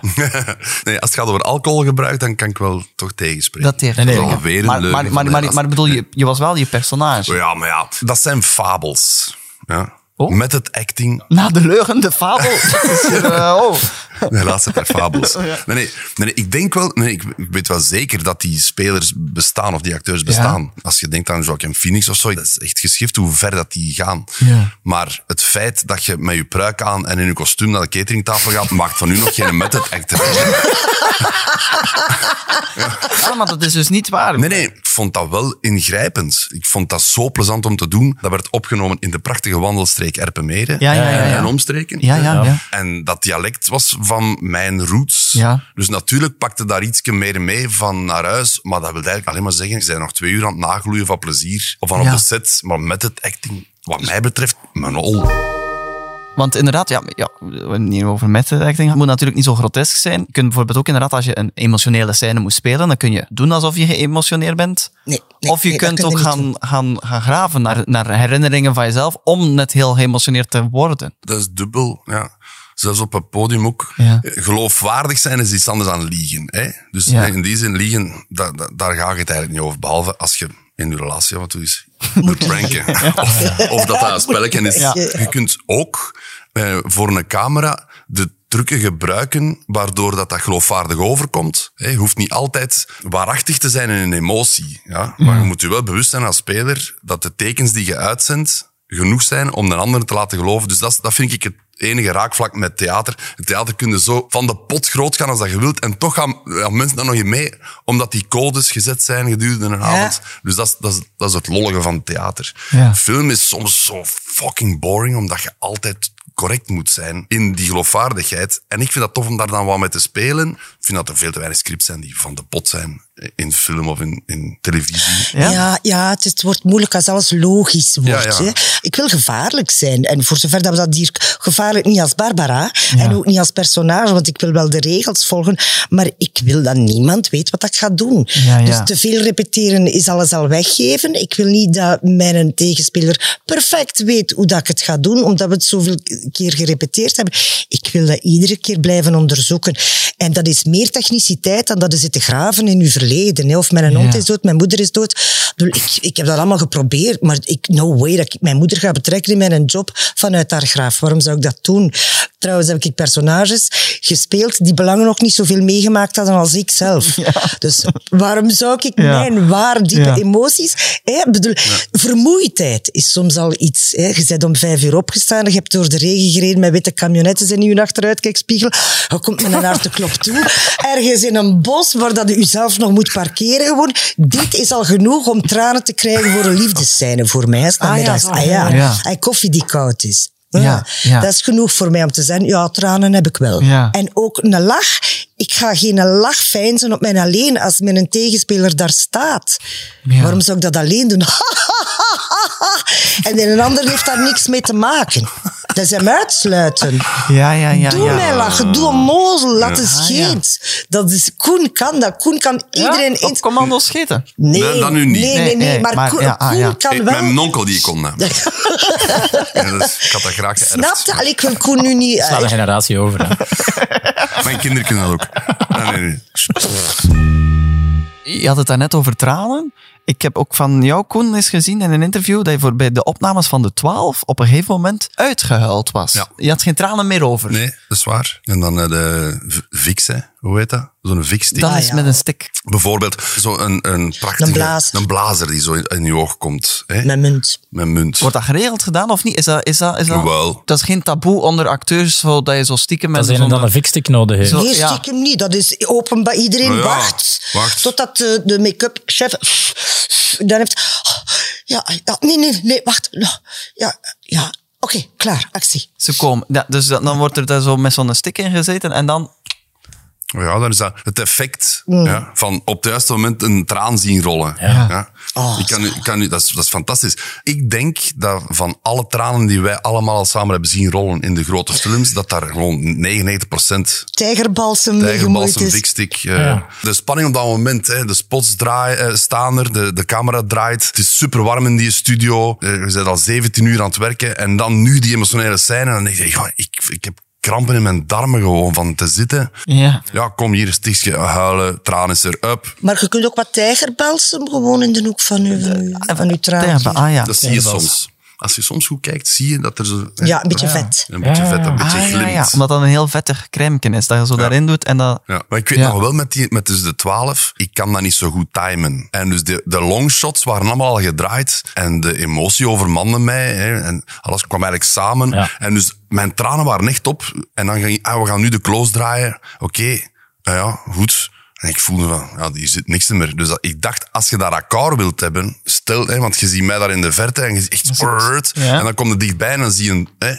F: Nee, als het gaat over alcoholgebruik, dan kan ik wel toch tegenspreken.
C: Dat heeft
F: is
C: wel.
F: alweer een
C: maar,
F: leugen
C: maar,
F: van
C: maar,
F: de
C: maar,
F: gast. Oh
C: maar bedoel, je, je was wel je personage.
F: Ja, maar ja, dat zijn fabels. Ja.
C: Oh.
F: Met het acting
C: Na de leugen, de fabel. Dat is hier, eh, oh.
F: De laatste paar fabels. Nee, nee, nee, nee, ik denk wel, nee, ik, ik weet wel zeker dat die spelers bestaan of die acteurs bestaan. Als je denkt aan Joaquin Phoenix of zo, dat is echt geschift hoe ver dat die gaan.
C: Ja.
F: Maar het feit dat je met je pruik aan en in je kostuum naar de cateringtafel gaat, maakt van u nog geen method actor.
C: Ja, maar dat is dus niet waar.
F: Nee, nee, ik vond dat wel ingrijpend. Ik vond dat zo plezant om te doen. Dat werd opgenomen in de prachtige wandelstreek Erpenmeren
C: Ja, ja, ja, ja.
F: en omstreken.
C: Ja, ja, ja.
F: En dat dialect was van mijn roots.
C: Ja.
F: Dus natuurlijk pakte daar iets meer mee van naar huis. Maar dat wil eigenlijk alleen maar zeggen, ik ben nog twee uur aan het nagloeien van plezier. Of van
C: Ja.
F: op de set. Maar met het acting, wat mij betreft, mijn ol.
C: Want inderdaad, ja, ja, we hebben het hier over met acting. Het moet natuurlijk niet zo grotesk zijn. Je kunt bijvoorbeeld ook inderdaad, als je een emotionele scène moet spelen, dan kun je doen alsof je geëmotioneerd bent.
E: Nee, nee,
C: of je
E: nee, dat
C: kunt
E: kun je
C: ook
E: niet
C: gaan,
E: doen.
C: gaan, gaan graven naar, naar herinneringen van jezelf om net heel geëmotioneerd te worden.
F: Dat is dubbel, ja. Zelfs op het podium ook.
C: Ja.
F: Eh, Geloofwaardig zijn is iets anders dan liegen. Hè? Dus
C: Ja.
F: in die zin, liegen, da- da- daar ga je het eigenlijk niet over. Behalve als je in je relatie wat doet, moet pranken. Of, of dat dat een spelletje is.
E: Ja.
F: Je kunt ook eh, voor een camera de trucken gebruiken waardoor dat, dat geloofwaardig overkomt. Hè? Je hoeft niet altijd waarachtig te zijn in een emotie. Ja? Maar je moet je wel bewust zijn als speler dat de tekens die je uitzendt genoeg zijn om de ander te laten geloven. Dus dat, is- dat vind ik het enige raakvlak met theater. Het theater kun je zo van de pot groot gaan als dat je wilt. En toch gaan, gaan mensen daar nog in mee, omdat die codes gezet zijn gedurende een avond. Dus dat is, dat, is, dat is het lollige van theater.
C: Ja.
F: Film is soms zo fucking boring, omdat je altijd correct moet zijn in die geloofwaardigheid. En ik vind dat tof om daar dan wat mee te spelen. Ik vind dat er veel te weinig scripts zijn die van de pot zijn in film of in, in televisie.
C: Ja?
E: Ja, ja, het, het wordt moeilijk als alles logisch wordt.
F: Ja, ja.
E: Hè. Ik wil gevaarlijk zijn. En voor zover dat we dat hier gevaarlijk niet als Barbara en ook niet als personage, want ik wil wel de regels volgen, maar ik wil dat niemand weet wat ik ga doen.
C: Ja, ja.
E: Dus te veel repeteren is alles al weggeven. Ik wil niet dat mijn tegenspeler perfect weet hoe dat ik het ga doen, omdat we het zoveel keer gerepeteerd hebben. Ik wil dat iedere keer blijven onderzoeken. En dat is meer techniciteit dan dat je zit te graven in je verleden. Hè. Of mijn hond
C: Ja.
E: is dood, mijn moeder is dood. Ik bedoel, Ik, ik heb dat allemaal geprobeerd, maar ik, no way dat ik mijn moeder ga betrekken in mijn job vanuit haar graaf. Waarom zou ik dat doen? Trouwens heb ik personages gespeeld die belangen nog niet zoveel meegemaakt hadden als ik zelf. Dus waarom zou ik
C: Ja.
E: mijn waar diepe
C: Ja.
E: emoties... Hè? Ik Bedoel, Vermoeidheid is soms al iets. Hè? Je bent om vijf uur opgestaan, je hebt door de regen gereden met witte camionettes in je achteruitkijkspiegel. Je komt met een harde klok toe. Ergens in een bos waar dat je jezelf nog moet parkeren gewoon. Dit is al genoeg om tranen te krijgen voor een liefdescène voor mij. hè, 's Namiddags.
C: zo.
E: Ah, ja.
C: Ja.
E: En koffie die koud is. Ja,
C: Ja, ja.
E: Dat is genoeg voor mij om te zeggen, ja, tranen heb ik wel.
C: Ja.
E: En ook een lach. Ik ga geen lach feinzen op mijn alleen als mijn tegenspeler daar staat.
C: Ja.
E: Waarom zou ik dat alleen doen? en een ander heeft daar niks mee te maken. Dat is hem uitsluiten.
C: Ja, ja, ja.
E: Doe nou.
C: ja.
E: mij lachen, doe onnozel, laat eens
C: Ah,
E: scheet. Dat is, Koen kan dat. Koen kan iedereen...
C: ja? op
E: eens-
C: commando scheten.
E: Nee,
F: Nee, dat nu niet.
E: Nee, nee, nee.
C: Nee, nee,
E: maar,
C: maar
E: Koen,
C: ja, ah,
E: Koen
C: ja.
E: kan
F: Ik-
E: wel...
F: Mijn onkel die ik kon nemen. Ja, dat is- ik had dat graag geërfd.
E: Snapte? Allee, ik wil Koen nu niet... eh,
D: Sla de generatie over. hè.
F: Mijn kinderen kunnen dat ook. Nee, nee, nee.
C: Je had het daarnet over tranen. Ik heb ook van jou, Koen, eens gezien in een interview dat je voor bij de opnames van de 12 op een gegeven moment uitgehuild was.
F: Ja.
C: Je had geen tranen meer over.
F: Nee, dat is waar. En dan eh, de v- Vix, hè. hoe heet dat? Zo'n Vix-stick.
C: Dat
E: Ah,
C: is
E: ja.
C: met een stick.
F: Bijvoorbeeld zo'n een prachtige...
E: Een blazer.
F: een blazer die zo in, in je oog komt. Hè?
E: Mijn munt.
F: Met munt.
C: Wordt dat geregeld gedaan of niet? Is dat, is dat, is dat,
F: Wel.
C: dat is geen taboe onder acteurs, zo, dat je zo stiekem...
D: Dat
C: en
D: zijn
C: zo-
D: dan een fikstick nodig heeft.
C: Zo-
E: Nee,
C: ja.
E: stiekem niet. Dat is openbaar. Iedereen
F: Nou ja,
E: wacht,
F: wacht.
E: Totdat de, de make-up chef dan heeft... Ja, ja, nee, nee, nee, wacht. Ja, ja. Oké, klaar, actie.
C: Ze komen. Ja, dus dat- dan wordt er daar zo met zo'n stick in gezeten en dan...
F: Ja, dan is dat het effect ja, van op het juiste moment een traan zien rollen. Ja. ik kan nu, ik kan nu, dat, is, dat is fantastisch. Ik denk dat van alle tranen die wij allemaal al samen hebben zien rollen in de grote films, dat daar gewoon 99%
E: Tijgerbalsem meegemoeid
F: Tijgerbalsem,
E: is.
F: dikstick. eh, De spanning op dat moment. Hè, de spots draai, eh, staan er, de, de camera draait. Het is super warm in die studio. Eh, we zijn al 17 uur aan het werken. En dan nu die emotionele scène. En dan denk je, ja, ik, ik heb krampen in mijn darmen gewoon van te zitten.
C: Ja.
F: Ja, kom hier, stichtje, huilen, tranen is er, up.
E: Maar je kunt ook wat tijgerbalsem gewoon in de hoek van uw, van uw
C: Ja,
E: traantje.
C: ah ja.
F: Dat zie je soms. als je soms goed kijkt, zie je dat er zo... hè,
E: Ja, een beetje vet.
F: Een beetje
D: Ja,
F: vet,
D: ja.
F: een beetje
C: Ah, ja,
F: glimt.
C: ja. Omdat dat een heel vettig crème is, dat je zo daarin doet en dat...
F: Ja, maar ik weet
C: Ja.
F: nog wel met, die, met dus de 12, ik kan dat niet zo goed timen. En dus de, de longshots waren allemaal al gedraaid. En de emotie overmande mij. Hè, en alles kwam eigenlijk samen.
D: Ja.
F: En dus mijn tranen waren echt op. En dan ging ik, ah, we gaan nu de close draaien. Oké, nou ja, goed. En ik voelde van, ja, hier zit niks meer. Dus dat- ik dacht, als je dat akkoord wilt hebben, stel, hè, want je ziet mij daar in de verte en je ziet echt... brrrt.
C: ja.
F: En dan komt het dichtbij en dan zie je... een- Hè,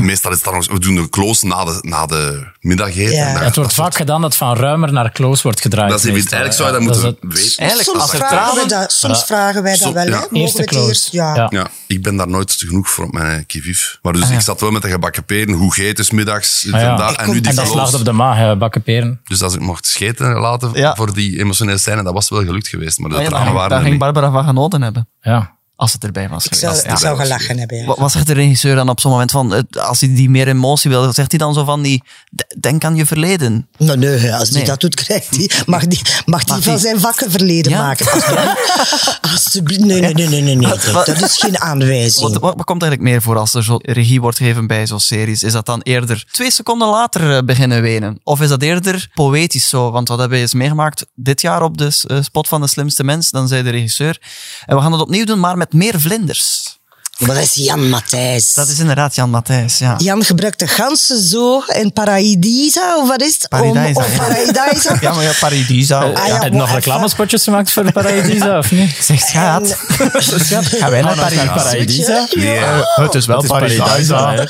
F: Meestal is het dan, nog- we doen de close na de, na de middageten.
E: Ja.
F: En dan-
E: Ja,
D: Het wordt vaak gedaan dat van ruimer naar close wordt gedraaid.
F: dat is evident.
D: meestal,
F: Eigenlijk zou je
D: hè.
F: dat moeten
D: eh, is het-
F: weten.
C: Eigenlijk,
E: Soms,
C: als er
E: vragen, we
C: tranen-
E: dat, soms
D: Ja.
E: vragen wij dat
F: Soms-
E: wel,
F: ja.
E: hè?
F: Eerste
E: Mogelijk
D: close.
E: eerst, ja.
D: Ja.
F: Ja, ik ben daar nooit genoeg voor op mijn kivief. Maar dus ik zat wel met de gebakken peren. Hoe geet is middags? dit
D: Ah, ja.
F: en, dat, en nu die
D: En dat slaagt
F: verloos.
D: op de maag, hè, bakken peren.
F: Dus als ik mocht scheten laten
C: Ja.
F: voor die emotionele scène, dat was wel gelukt geweest. Maar de
C: Ah, ja,
F: tranen
C: daar,
F: waren
C: daar
F: er
C: ging
F: niet.
C: Barbara van genoten hebben.
D: Ja.
C: Als het erbij was.
E: Ik zou,
C: geweest.
E: ik
C: Ja.
E: zou gelachen hebben, ja.
C: Wa- Was zegt de regisseur dan op zo'n moment van, het- als hij die meer emotie wil, zegt hij dan zo van die, "D- denk aan je verleden.
E: Maar Nou, nee, als die
C: Nee.
E: dat doet, krijgt die, mag die, mag die
C: Mag
E: van
C: die-
E: zijn vakken verleden
C: Ja.
E: maken. Alsjeblieft. Alsjeblieft. Nee, nee, nee, nee, nee, nee.
C: wat-
E: Dat is geen
C: Wat,
E: aanwijzing.
C: wat, wat komt eigenlijk meer voor als er zo regie wordt gegeven bij zo'n series? Is dat dan eerder twee seconden later eh, beginnen wenen? Of is dat eerder poëtisch zo? Want wat hebben we eens meegemaakt dit jaar op de s- eh, spot van de slimste mens? Dan zei de regisseur, en we gaan het opnieuw doen, maar met meer vlinders.
E: Maar dat is Jan Matthijs.
C: Dat is inderdaad Jan Matthijs, ja.
E: Jan gebruikt de ganzen zo en Paradisa, of wat is het?
C: Paradijsa,
E: Om, om
C: ja.
E: Paradisa.
C: Ja, maar ja, Paradisa.
E: Ah, ja,
D: Heb je
E: maar
D: nog
E: even-
D: reclamespotjes gemaakt voor de Paradisa, of niet?
C: Zeg, schaat. Schaat, Gaan wij naar Paradisa?
E: Ja.
D: Het is wel Paradisa. hè.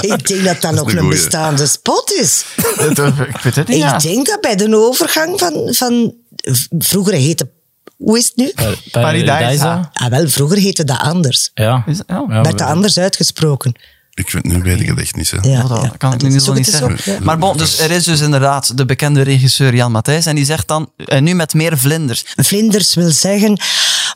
E: Ik denk dat dat ook
F: een
E: een
F: goeie.
E: bestaande spot is.
C: Ik weet het niet, ja.
E: Ik denk dat bij de overgang van, van v- vroeger heette, hoe is het nu?
C: Eh.
D: Pa-
C: Paradijsa.
E: Ah, wel, vroeger heette dat anders.
D: Ja.
C: Is- ja.
D: Ja,
E: Werd dat
D: we-
E: anders uitgesproken?
F: Ik weet, nu weet ik het echt niet. Hè.
E: Ja,
C: Ja, dat
E: ja.
C: kan ik
E: Dat
C: nu
E: is-
C: niet
E: zoek
C: zo niet
E: het eens
C: zeggen.
E: op, ja.
C: Maar bon, dus er is dus inderdaad de bekende regisseur Jan Matthijs en die zegt dan, en nu met meer vlinders.
E: Vlinders wil zeggen,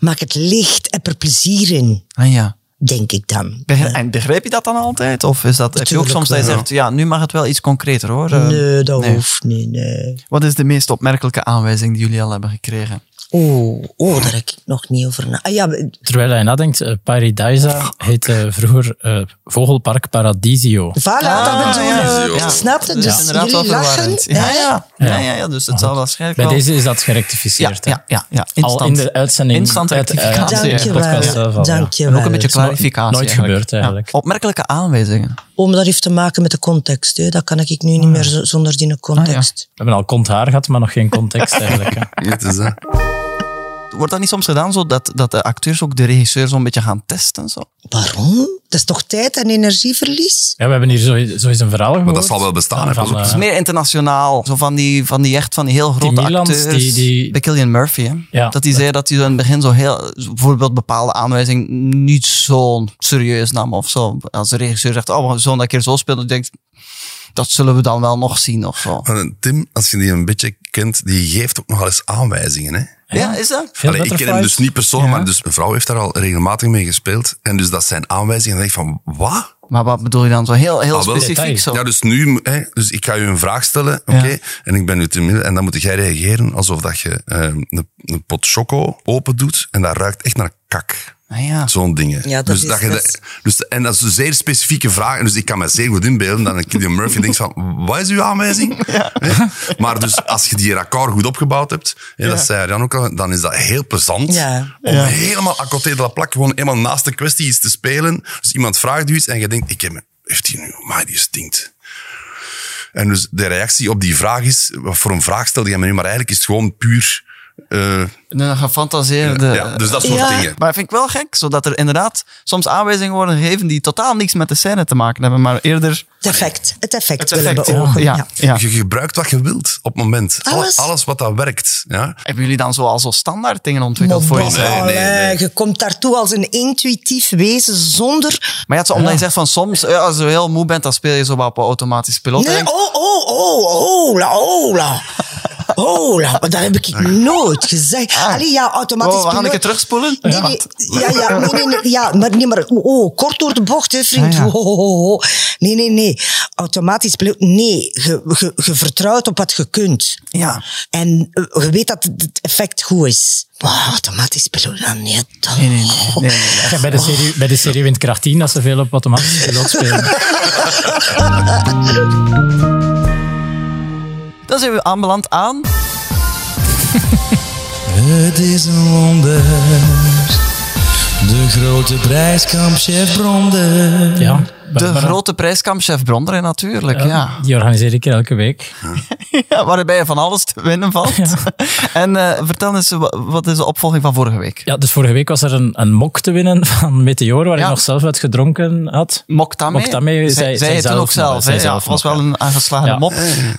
E: maak het licht, heb er plezier in,
C: Ah ja.
E: denk ik dan.
C: Begrijp, en begrijp je dat dan altijd? Of is dat, heb je ook
E: Natuurlijk
C: soms dat je
E: wel.
C: zegt, ja, nu mag het wel iets concreter hoor. Eh,
E: Nee, dat hoeft niet, nee.
C: Wat is de meest opmerkelijke aanwijzing die jullie al hebben gekregen?
E: Oh, oh, daar heb ik nog niet over na. Ah, ja, maar-
D: Terwijl hij nadenkt, eh, Paradisa heette vroeger eh, Vogelpark Paradisio.
E: voilà, Ah,
D: Ah,
E: dat bedoel ik.
C: Ah, ja.
E: Ja.
C: Ja.
E: Snap je?
C: Dat is
E: Dus
C: inderdaad wel
E: jullie lachen.
C: verwarrend. Ja,
E: hè?
C: ja. Ja, ja, ja, dus het zal waarschijnlijk
D: Bij
C: wel...
D: deze is dat
C: ja,
D: gerectificeerd. hè.
C: ja, ja, ja.
D: Al in de uitzending.
C: Instant
D: uit- eh,
C: rectificatie.
D: de
E: Dankjewel.
D: podcast zelf al, ja.
E: Dankjewel.
C: En ook een beetje
D: Dat is nooit-
C: clarificatie
D: nooit
C: eigenlijk.
D: gebeurd, eigenlijk.
C: Ja. Opmerkelijke aanwijzingen.
E: Oh, maar dat heeft te maken met de context. Hè. Dat kan ik nu
C: Ah.
E: niet meer zo- zonder die context.
D: We hebben al kont haar gehad, maar nog geen context eigenlijk. hè.
F: Het is, hè.
C: Wordt dat niet soms gedaan zo dat, dat de acteurs ook de regisseur zo'n beetje gaan testen? Zo?
E: Waarom? Dat is toch tijd en energieverlies?
D: Ja, we hebben hier zo, zo is een verhaal gehoord.
F: Maar dat zal wel bestaan. Hè,
D: Van,
F: pas op.
D: eh,
C: Het is meer internationaal. Zo van die, van die echt van die heel grote
D: Milans,
C: acteurs.
D: die- die-
C: Bij Cillian Murphy, hè?
D: Ja.
C: Dat hij zei dat hij zo in het begin zo heel, bijvoorbeeld bepaalde aanwijzing niet zo serieus nam of zo. Als de regisseur zegt, oh, we gaan zo dat keer zo spelen, dan denk ik, dat zullen we dan wel nog zien of zo.
F: Eh, Tim, als je die een beetje kent, die geeft ook nogal eens aanwijzingen. Hè?
C: Ja, is dat?
D: Veel
F: Allee, ik ken hem
D: butterflies.
F: dus niet persoonlijk,
D: Ja.
F: maar dus een vrouw heeft daar al regelmatig mee gespeeld. En dus dat zijn aanwijzingen. En dan denk ik van, wat?
C: Maar wat bedoel je dan zo heel, heel
F: Ah, wel.
C: specifiek? Zo?
F: Ja, dus nu, mo- hè, dus ik ga je een vraag stellen, oké, en ik ben nu te midden, en dan moet jij reageren alsof dat je ehm, een, een pot choco open doet en dat ruikt echt naar kak.
C: Ah, ja.
F: Zo'n dingen.
E: Ja, dat
F: dus
E: is-
F: dat je
E: dat
F: dat-
E: is-
F: dus, en dat is een zeer specifieke vraag. En dus ik kan me zeer goed inbeelden dat een Killian Murphy denkt van, wat is uw aanwijzing? Hè? Maar dus als je die akkoord goed opgebouwd hebt, hè, dat zei Jan ook al, dan is dat heel plezant.
E: Ja.
F: Om helemaal à côté de la plaque, gewoon helemaal naast de kwestie iets te spelen. Dus iemand vraagt u iets en je denkt, ik heb, heeft hij nu, maar die stinkt. En dus de reactie op die vraag is, wat voor een vraag stelde jij me nu, maar eigenlijk is het gewoon puur... eh,
C: Een gefantaseerde...
F: ja, dus dat soort
E: Ja.
F: dingen.
C: Maar dat vind ik wel gek, zodat er inderdaad soms aanwijzingen worden gegeven die totaal niks met de scène te maken hebben, maar eerder...
E: Het effect. Het effect,
C: Het
E: willen
C: effect,
E: beogen.
C: ja. ja, ja.
F: Je gebruikt wat je wilt op het moment. Alle-
E: Alles?
F: Alles, wat dat werkt. Ja?
C: Hebben jullie dan zo al zo standaard dingen ontwikkeld
E: Maar
C: voor
E: bon,
C: jezelf?
F: nee, nee,
E: allee,
F: nee.
E: Oh, Je komt daartoe als een intuïtief wezen zonder...
C: Maar ja, het is omdat je zegt van soms, ja, als je heel oh.
E: oh,
C: moe bent, dan speel je zo wat op een automatisch piloot. En
E: Nee,
C: denk-
E: oh, oh, oh, oh, la, oh, la. Oh, la- dat heb ik nooit gezegd. Allee, ja, automatisch
C: Ah. Oh, we gaan
E: piloot.
C: een keer terugspoelen.
E: Nee, nee, ja, ja, nee, nee, nee, ja, maar, nee, maar oh, oh, kort door de bocht, hè, vriend.
C: Ah, ja.
E: Oh, oh, oh, oh. Nee, nee, nee. Automatisch piloot. Nee, je, je, je vertrouwt op wat je kunt.
C: Ja.
E: En eh, je weet dat het effect goed is. Maar automatisch piloot, Ah, dan niet. dan-
C: Nee, nee, nee, nee, nee, nee.
D: Ja, bij, de serie, bij de serie Windkracht 10, dat ze veel op automatisch piloot spelen.
C: Dan zijn we aanbeland aan.
H: Het is een wonder. De grote prijskamp chef Bronder.
D: Ja,
C: De
D: Barbara,
C: grote prijskamp Chef Bronder, hè, natuurlijk.
D: eh,
C: Ja.
D: Die organiseer ik elke week.
C: Ja, waarbij je van alles te winnen valt. En eh, vertel eens, wa- wat is de opvolging van vorige week?
D: Ja, dus vorige week was er een, een mok te winnen van Meteor, waar
C: Ja.
D: ik nog zelf uit gedronken had.
C: Moktame.
D: Moktame, zij-
C: zij,
D: zij
C: het toen
D: zelf
C: ook zelf.
D: nog,
C: hè?
D: zij
C: Ja,
D: zelf
C: het was
D: nog,
C: wel
D: ja.
C: een aangeslagen
D: Ja.
C: mop.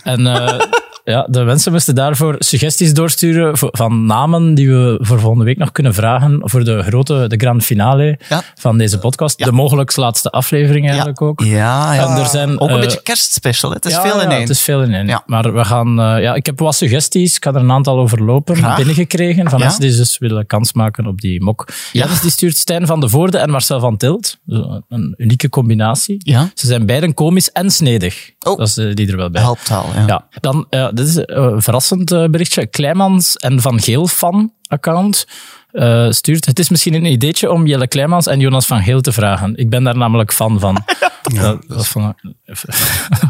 D: En eh, ja, de mensen moesten daarvoor suggesties doorsturen voor- van namen die we voor volgende week nog kunnen vragen voor de grote, de grand finale
C: Ja.
D: van deze podcast. De mogelijkst laatste aflevering eigenlijk ook.
C: Ja, ja.
D: En er zijn,
C: ook een
D: eh,
C: beetje kerstspecial. hè. Het is
D: Ja,
C: veel
D: ja,
C: in één.
D: Het is veel in één.
C: Ja.
D: Maar we gaan, eh, ja, ik heb wat suggesties. Ik had er een aantal overlopen
C: Graag.
D: binnengekregen. Van
C: Ja.
D: mensen die dus willen kans maken op die mok. Ja. dus die stuurt Stijn van de Voorde en Marcel van Tilt. Dus Een unieke combinatie.
C: Ja.
D: Ze zijn beiden komisch en snedig.
C: Oh.
D: Dat is eh, die er wel bij.
C: Helptaal, ja.
D: Ja, dan, eh, dit is eh, een verrassend eh, berichtje. Kleimans en Van Geel fan-account eh, stuurt. Het is misschien een ideetje om Jelle Kleimans en Jonas Van Geel te vragen. Ik ben daar namelijk fan van. ja, dat, dat vond ik-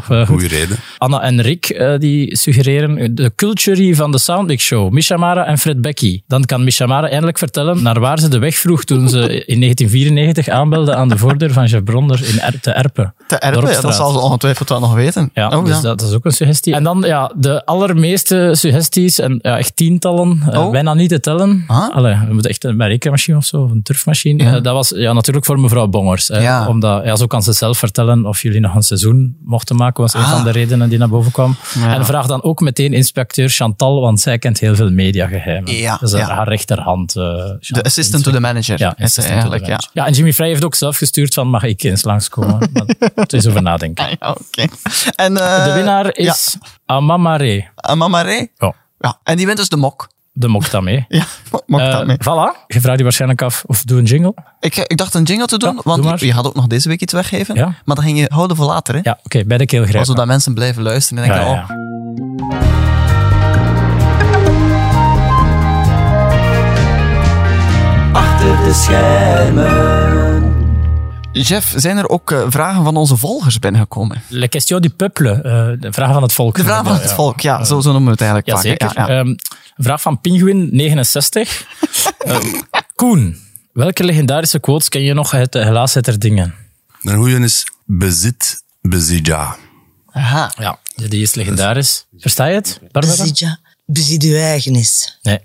D: Eh,
F: Goeie reden.
D: Anna en Rick eh, die suggereren de culture van de Soundmix Show. Mishamara en Fred Becky. Dan kan Mishamara eindelijk vertellen naar waar ze de weg vroeg toen ze in 1994 aanbelde aan de voordeur van Chef Bronder in er te Erpen.
C: Te erpen, ja, dat
D: Dorpstraat.
C: zal ze ongetwijfeld wel nog weten.
D: Ja,
C: Oh,
D: dus
C: ja.
D: Dat, dat is ook een suggestie. En dan ja, de allermeeste suggesties, en ja, echt tientallen, eh,
C: Oh.
D: bijna niet te tellen.
C: Ah.
D: Allee, we moeten echt een rekenmachine of zo, of een turfmachine. Eh, dat was ja, natuurlijk voor mevrouw Bongers. hè.
C: Ja.
D: Omdat, ja, zo kan ze zelf vertellen of jullie nog een seizoen mochten maken, was
C: Ah.
D: een van de redenen die naar boven kwam. En vraag dan ook meteen inspecteur Chantal, want zij kent heel veel mediageheimen.
C: Ja,
D: dat is
C: ja.
D: haar rechterhand. eh,
C: De
D: Chantal.
C: assistant to the manager.
D: Ja,
C: is ze
D: assistant to the
C: eigenlijk, ja.
D: manager. ja, en Jimmy Frey heeft ook zelf gestuurd van mag ik eens langskomen? Maar het is over nadenken.
C: Ah, ja, oké. En eh,
D: De winnaar is Amamare.
C: ja, Mama Ray.
D: Ja,
C: Ja, en die wint dus de mok.
D: de mokt dat mee.
C: Ja, mok
D: Eh,
C: daarmee.
D: voilà. Je vraagt je waarschijnlijk af of doe een jingle.
C: Ik, eh, ik dacht een jingle te doen,
D: Ja,
C: want
D: doe maar.
C: je had ook nog deze week iets weggeven.
D: Ja.
C: Maar dat ging je houden voor later, hè?
D: Ja, oké, bij de keelgrijp.
C: Zodat mensen blijven luisteren en
D: Ja,
C: denken,
D: ja,
C: oh,
D: ja.
C: Jeff, zijn er ook eh, vragen van onze volgers binnengekomen?
D: Le question du peuple, eh, de vraag van het volk.
C: De vraag van het volk, ja, zo, zo noemen we het eigenlijk vaak. hè.
D: Jazeker.
C: Ja, ja.
D: Ehm, een vraag van Pinguin69. Koen, welke legendarische quotes ken je nog uit de Helaas het er dingen?
F: Een goeie is bezit, bezidja.
C: Aha.
D: Ja, die is legendarisch. Versta je het, Barbara?
E: Bezit, ja. Bezit uw eigen is.
D: Nee.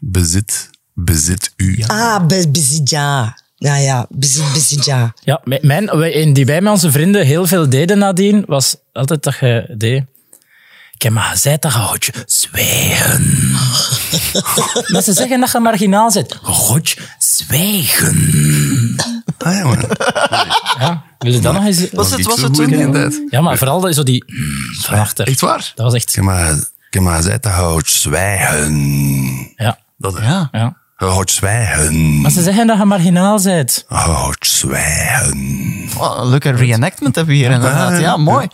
F: Bezit, bezit u.
E: Ah, be- bezit, ja. Ja, ja. Bezit, bezit, ja.
D: Ja, mijn- mijn, wij- in die wij met onze vrienden heel veel deden nadien, was altijd dat je deed... Ik heb maar gezegd dat je godje zwijgen. dat ze zeggen dat je marginaal zit. Godje zwijgen.
F: Ah, ja, maar.
D: Ja, wil je dat nog eens...
C: Was
F: Dat
C: het,
F: is
C: was
F: zo
C: het
F: goed
C: toen?
F: in die tijd.
D: Ja, maar vooral dat, zo die... mm, Van achter.
F: Echt waar?
D: Dat was echt...
F: Ik heb maar gezegd dat je houdt zwijgen.
D: Ja,
F: Dat is.
C: Ja.
D: ja.
F: Je houdt zwijgen.
D: Maar ze zeggen dat je marginaal bent.
F: Je houdt zwijgen.
C: Oh, een leuke reenactment hebben we hier inderdaad. Ja, mooi.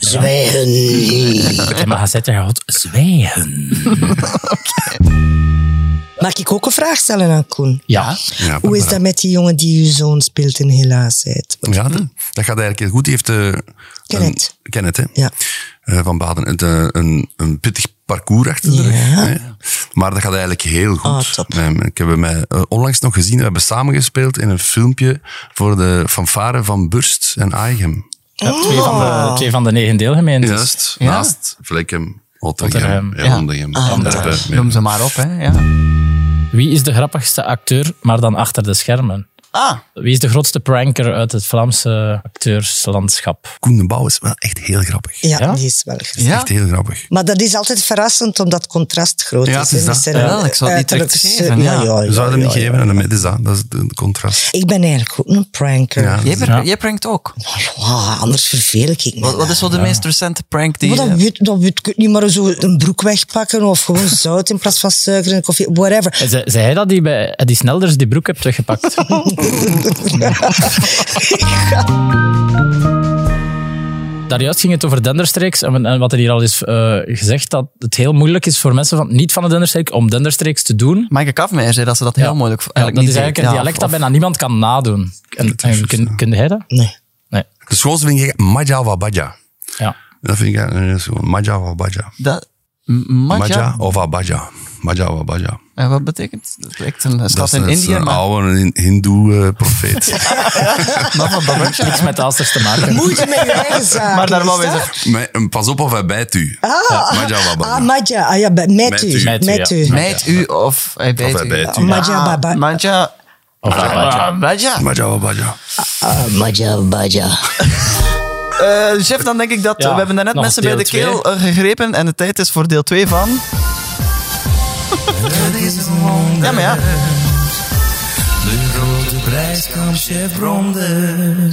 D: Ik heb maar gezegd dat je god zwijgen.
E: Mag ik ook een vraag stellen aan Koen?
D: Ja.
F: Ja,
E: Hoe is dat met die jongen die uw zoon speelt in helaasheid?
F: Ja, dat, dat gaat eigenlijk heel goed. Die heeft... eh,
E: Kenneth.
F: een- Kenneth, hè?
E: Ja.
F: Eh, van Baden. Het, eh, een, een pittig parcours achter de
E: Ja.
F: rug. Hè? Maar dat gaat eigenlijk heel goed.
E: Ah, top.
F: Eh, ik heb hem eh, onlangs nog gezien. We hebben samengespeeld in een filmpje voor de fanfare van Burst en Aigem.
D: Ja, twee, van de, twee van de negen deelgemeentes.
F: Oh. Juist, Dus naast Vlekkem, Ottergem,
D: Ottergem,
F: ja.
C: ja.
E: Ah,
F: Hondegem,
D: Antwerpen.
F: Antwerpen, ja.
C: Noem ze maar op, hè. Ja.
D: Wie is de grappigste acteur, maar dan achter de schermen?
C: Ah,
D: Wie is de grootste pranker uit het Vlaamse acteurslandschap?
F: Koen de Bouw is wel echt heel grappig.
E: Ja,
D: Ja?
E: die is wel grappig.
C: ja.
F: Echt heel grappig.
E: Maar dat is altijd verrassend, omdat het contrast groot
F: Ja,
E: is.
F: het is
E: hè.
F: dat.
E: Met zijn
C: Ja, ik zou het niet
E: uiterlijk-
C: direct geven, ja.
F: Je zou hem
E: ja,
F: niet
E: ja.
F: geven aan de midden, dat. dat is het contrast.
E: Ik ben eigenlijk ook een pranker.
F: Ja.
C: Jij, pr-
D: Ja.
C: jij prankt ook.
E: Wow, anders verveel ik me.
C: Wat, wat is zo de meest recente prank die...
E: Maar dat
C: eh,
E: weet, dat weet ik niet, maar zo een broek wegpakken of gewoon zout in plaats van suiker en koffie, whatever.
D: Ze- Zei hij dat die bij Eddie Snelders die broek hebt weggepakt? Daarjuist ging het over Denderstreeks. En en wat er hier al is eh, gezegd, dat het heel moeilijk is voor mensen van, niet van de Denderstreek om Denderstreeks te doen.
C: Maaike Kafmeijer zei dat ze dat heel moeilijk
D: Ja, dat
C: eigenlijk niet
D: is eigenlijk een
C: deed. Ja,
D: dialect
C: of-
D: dat bijna niemand kan nadoen. En,
F: Dat is
D: en kun,
F: juist, ja.
D: kun jij dat?
E: Nee.
D: Nee.
F: De schoolste vind ik Maja wa Baja.
D: Ja.
F: Dat vind ik eh, dat is gewoon Maja wa Baja.
C: dat- M- Madja?
F: Maja of Abaja. Maja of Abaja.
C: En wat betekent dat? Het lijkt een
F: Dat
C: stad
F: is
C: in
F: een, is
C: India,
F: een
C: maar...
F: oude hin- hindoe eh profeet.
D: Niks met Aalsters te maken.
E: Moeite met je eigen zaak.
C: Maar daar wou
E: is
C: we
E: dat?
C: zeggen,
F: Maar, eh, Pas op of hij bijt u.
C: Ah.
F: Ja, Maja wa Baja.
E: Ah, Madja. Ah ja, bij- met u.
D: Met
E: Met
D: u,
E: u.
D: ja.
C: meid u of hij bijt
F: hij
C: u.
F: bijt u.
E: Ah, Madja,
C: Ah,
E: baba.
C: Madja.
D: Of eh, Abaja.
C: Ah, Madja.
F: Maja wa Baja.
E: Ah, Madja, Madja.
C: Eh, chef, dan denk ik dat
D: Ja,
C: we hebben daarnet
D: nog
C: mensen bij
D: deel
C: de
D: twee.
C: keel eh, gegrepen en de tijd is voor deel 2 van... ja, maar ja.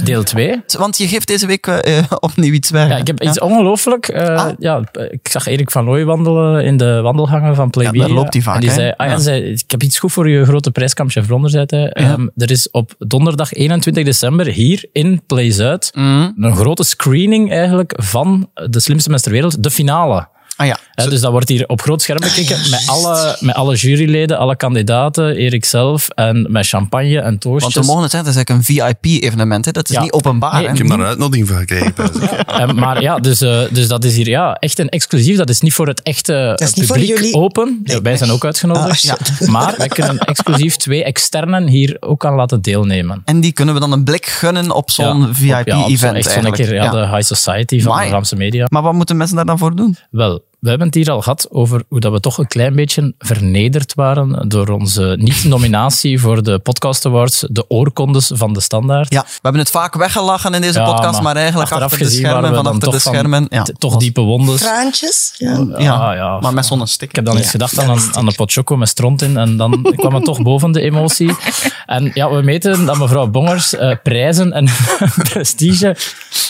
D: Deel 2.
C: Want je geeft deze week eh, eh, opnieuw iets weg.
D: Ja, ik heb iets ongelooflijk. eh,
C: Ah.
D: ja, ik zag Erik van Looy wandelen in de wandelgangen van Playboy.
C: Ja, daar loopt hij vaak,
D: En die
C: hè?
D: zei, ah, ja,
C: Ja.
D: zei, ik heb iets goed voor je grote prijskamp, chef Blonder, zei hij. Ehm, er is op donderdag 21 december hier in Play Zuid
C: Mm.
D: een grote screening eigenlijk van De Slimste Mens ter Wereld, de finale.
C: Ah ja.
D: Hè, dus dat wordt hier op groot
C: Ah,
D: scherm bekeken met, alle, met alle juryleden, alle kandidaten, Erik zelf en met champagne en toastjes.
C: Want we mogen het zeggen, dat is eigenlijk een VIP-evenement. Dat is
D: Ja.
C: niet openbaar.
D: Nee,
C: hè?
F: Ik heb daar een uitnodiging voor gekregen.
D: Eh, maar ja, dus, eh, dus dat is hier ja, echt een exclusief. Dat is niet voor het echte
E: Dat is niet voor
D: publiek
E: jullie.
D: open. Ja, wij zijn ook
E: Ah,
D: uitgenodigd.
E: shit.
D: Ja. Maar wij kunnen exclusief twee externen hier ook aan laten deelnemen.
C: En die kunnen we dan een blik gunnen op zo'n
D: Ja, op- ja, op zo'n-
C: VIP-event
D: Echt zo'n
C: eigenlijk.
D: keer ja,
C: Ja.
D: de high society van
C: Amai.
D: de Vlaamse media.
C: Maar wat moeten mensen daar dan voor doen?
D: Wel, we hebben het hier al gehad over hoe dat we toch een klein beetje vernederd waren door onze niet-nominatie voor de Podcast Awards, de oorkondes van de standaard.
C: Ja, we hebben het vaak weggelachen in deze
D: Ja,
C: podcast, maar, eigenlijk
D: achteraf
C: achter de
D: gezien waren
C: schermen, van
D: we dan
C: achter de
D: toch van
C: schermen. ja.
D: t- toch diepe wondes.
E: Traantjes. Ja.
C: Ja,
D: Ah, ja.
C: maar met zonder stick.
D: Ik heb dan eens gedacht aan, een- aan een pot choco met stront in en dan kwam het toch boven de emotie. En ja, we meten dat mevrouw Bongers eh, prijzen en prestige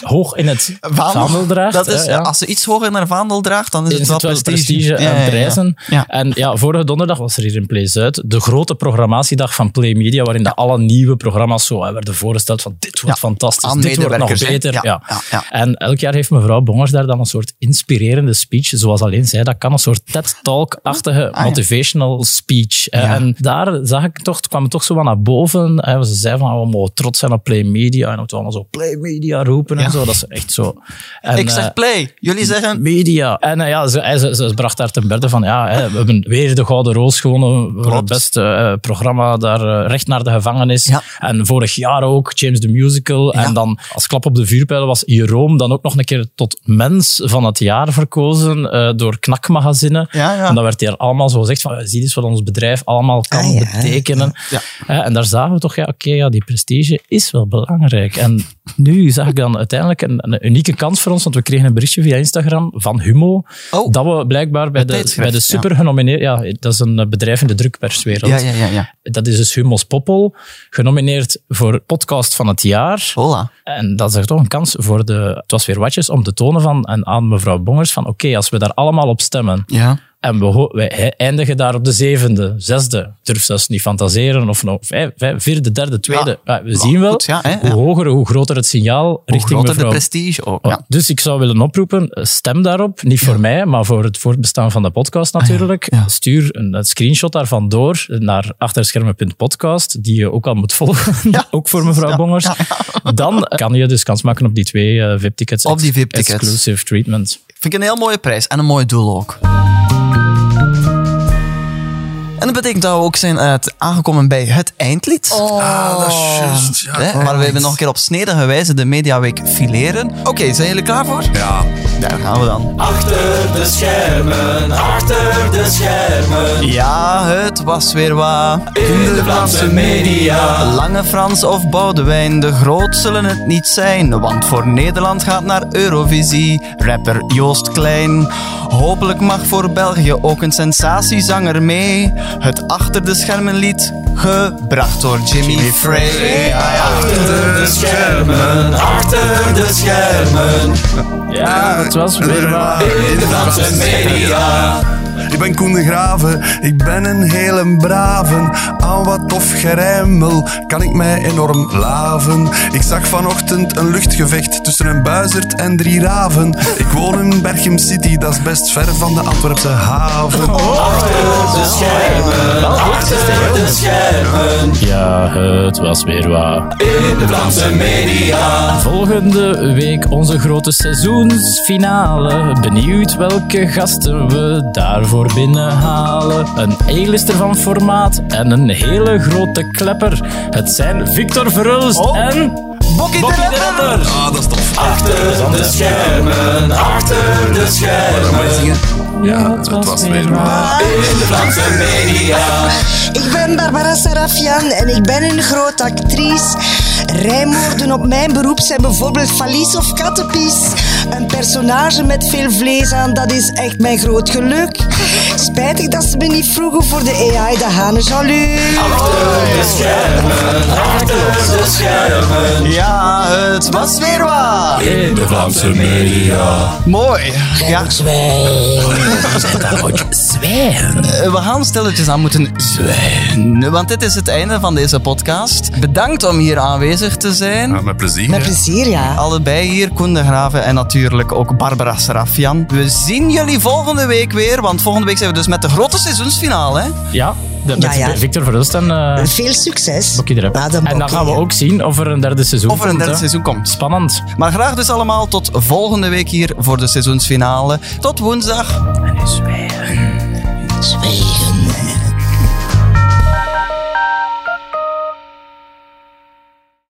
D: hoog in het
C: Vaandel-
D: vaandel draagt.
C: Dat is,
D: hè, ja.
C: Als ze iets hoger in haar vaandel draagt, dan is,
D: Is
C: het wel prestige. Ja, ja,
D: en
C: ja.
D: prijzen.
C: Ja.
D: En ja, vorige donderdag was er hier in Play Zuid de grote programmatiedag van Play Media, waarin de alle nieuwe programma's zo hè, werden voorgesteld van dit wordt
C: Ja.
D: fantastisch,
C: Aan
D: dit wordt nog
C: medewerkers, hè.
D: beter.
C: Ja,
D: Ja.
C: ja, ja.
D: En elk jaar heeft mevrouw Bongers daar dan een soort inspirerende speech, zoals alleen zij dat kan, een soort TED-talk-achtige
C: Ah,
D: motivational speech. hè. En daar zag ik toch, het kwam toch zo wat naar boven. hè. Ze zei van, we mogen trots zijn op Play Media en dat we allemaal zo Play Media roepen en zo. Dat is echt zo. En,
C: Ik
D: eh,
C: zeg play, jullie zeggen...
D: media. En eh, ja, ze, hij- ze, ze bracht daar ten berde van, ja, hè, we hebben weer de Gouden Roos gewonnen voor het beste eh, programma, daar eh, recht naar de gevangenis.
C: Ja.
D: En vorig jaar ook James the Musical. En dan als klap op de vuurpijl was Jeroen dan ook nog een keer tot mens van het jaar verkozen eh, door Knakmagazine.
C: Ja, ja.
D: En dan werd hier allemaal zo gezegd van, zie eens wat ons bedrijf allemaal kan
E: Ah, ja.
D: betekenen. Hè, en daar zagen we toch, ja, oké, ja, die prestige is wel belangrijk. En nu zag ik dan uiteindelijk een, een unieke kans voor ons, want we kregen een berichtje via Instagram van Humo,
C: Oh.
D: dat we blijkbaar bij de,
C: tijdschrift,
D: bij de super genomineerd... Ja, dat is een eh, bedrijf in de drukperswereld.
C: Ja, ja, ja. ja.
D: Dat is dus Humo's Poppel, genomineerd voor podcast van het jaar.
C: Hola.
D: En dat is er toch een kans voor de... Het was weer watjes om te tonen van, en aan mevrouw Bongers van oké, als we daar allemaal op stemmen,
C: Ja.
D: en we, ho- wij he- eindigen daar op de zevende, zesde. Durf zelfs niet fantaseren. Of nou, vijf, vijf- vierde, derde, tweede. Ja, we zien wel,
C: goed, ja, hè,
D: hoe
C: ja.
D: hoger, hoe groter het signaal
C: Hoe
D: richting
C: groter
D: mevrouw.
C: de prestige ook.
D: Ja,
C: Ja.
D: Dus ik zou willen oproepen, eh, stem daarop. Niet voor mij, maar voor het voortbestaan van de podcast natuurlijk.
C: Ah, ja.
D: Stuur een, een screenshot daarvan door naar achterschermen.podcast, die je ook al moet volgen. ook voor mevrouw Bongers. Dan kan je dus kans maken op die twee eh, VIP-tickets.
C: Op die
D: ex-
C: VIP-tickets.
D: Exclusive treatment.
C: Vind ik een heel mooie prijs en een mooi doel ook. En dat betekent dat we ook zijn eh, aangekomen bij het eindlied.
F: Ah, dat is juist. Ja,
C: Hè, maar we hebben nog een keer op snedige wijze de Mediaweek fileren. Oké, zijn jullie klaar voor?
F: Ja.
C: Daar gaan we dan.
H: Achter de schermen, achter de schermen.
C: Ja, het was weer wat.
H: In de Vlaamse media.
C: Lange Frans of Boudewijn, de groot zullen het niet zijn. Want voor Nederland gaat naar Eurovisie rapper Joost Klein. Hopelijk mag voor België ook een sensatiezanger mee. Het achter de schermen lied, gebracht door Jimmy, Frey. Ja, ja.
H: Achter de schermen, achter de schermen.
D: Ja, het was weer waar.
H: In de Vlaamse media.
F: Ik ben Koen de Graven, ik ben een hele braven. Aan wat tof geremmel kan ik mij enorm laven. Ik zag vanochtend een luchtgevecht tussen een buizerd en drie raven. Ik woon in Berchem City, dat is best ver van de Antwerpse haven.
D: Ja, het was weer waar. In de Vlaamse media. Volgende week onze grote seizoensfinale. Benieuwd welke gasten we daarvoor binnenhalen. Een A-lister van formaat en een hele grote klepper. Het zijn Victor Verhulst en... Bokkie de Rapper.
F: Ah, dat is tof. Ah,
H: De schermen, achter de schermen.
F: dat moet je zingen.
D: Ja,
F: Het was weer waar.
H: In de Vlaamse media.
E: Ik ben Barbara Sarafian en ik ben een grote actrice. Rijmoorden op mijn beroep zijn bijvoorbeeld valies of kattenpies. Een personage met veel vlees aan, dat is echt mijn groot geluk. Spijtig dat ze me niet vroegen voor de AI, de hanen jaloers.
C: Ja, het was weer wat.
H: In de Vlaamse media.
C: Mooi. Ja,
D: Oh. Zwijgen.
C: Eh, We gaan stilletjes aan moeten zwijnen, want dit is het einde van deze podcast. Bedankt om hier aanwezig te zijn.
F: Ja, met plezier.
E: Met
F: hè.
E: plezier, ja.
C: Allebei hier, Koen de Graven en natuurlijk ook Barbara Serafian. We zien jullie volgende week weer, want volgende week zijn we dus met de grote seizoensfinale. hè?
D: Ja, de, met
E: Ja, ja.
D: Victor Verhulst en... eh
E: Veel succes.
D: Bokkie de Rapper.
E: Na de
D: en dan
E: Bokkie,
D: gaan we
E: hè.
D: ook zien of er een derde seizoen
C: Of er een
D: komt,
C: derde
D: hè.
C: seizoen komt.
D: Spannend.
C: Maar graag dus allemaal tot volgende week hier voor de seizoensfinale. Tot woensdag.
E: Zwijgen.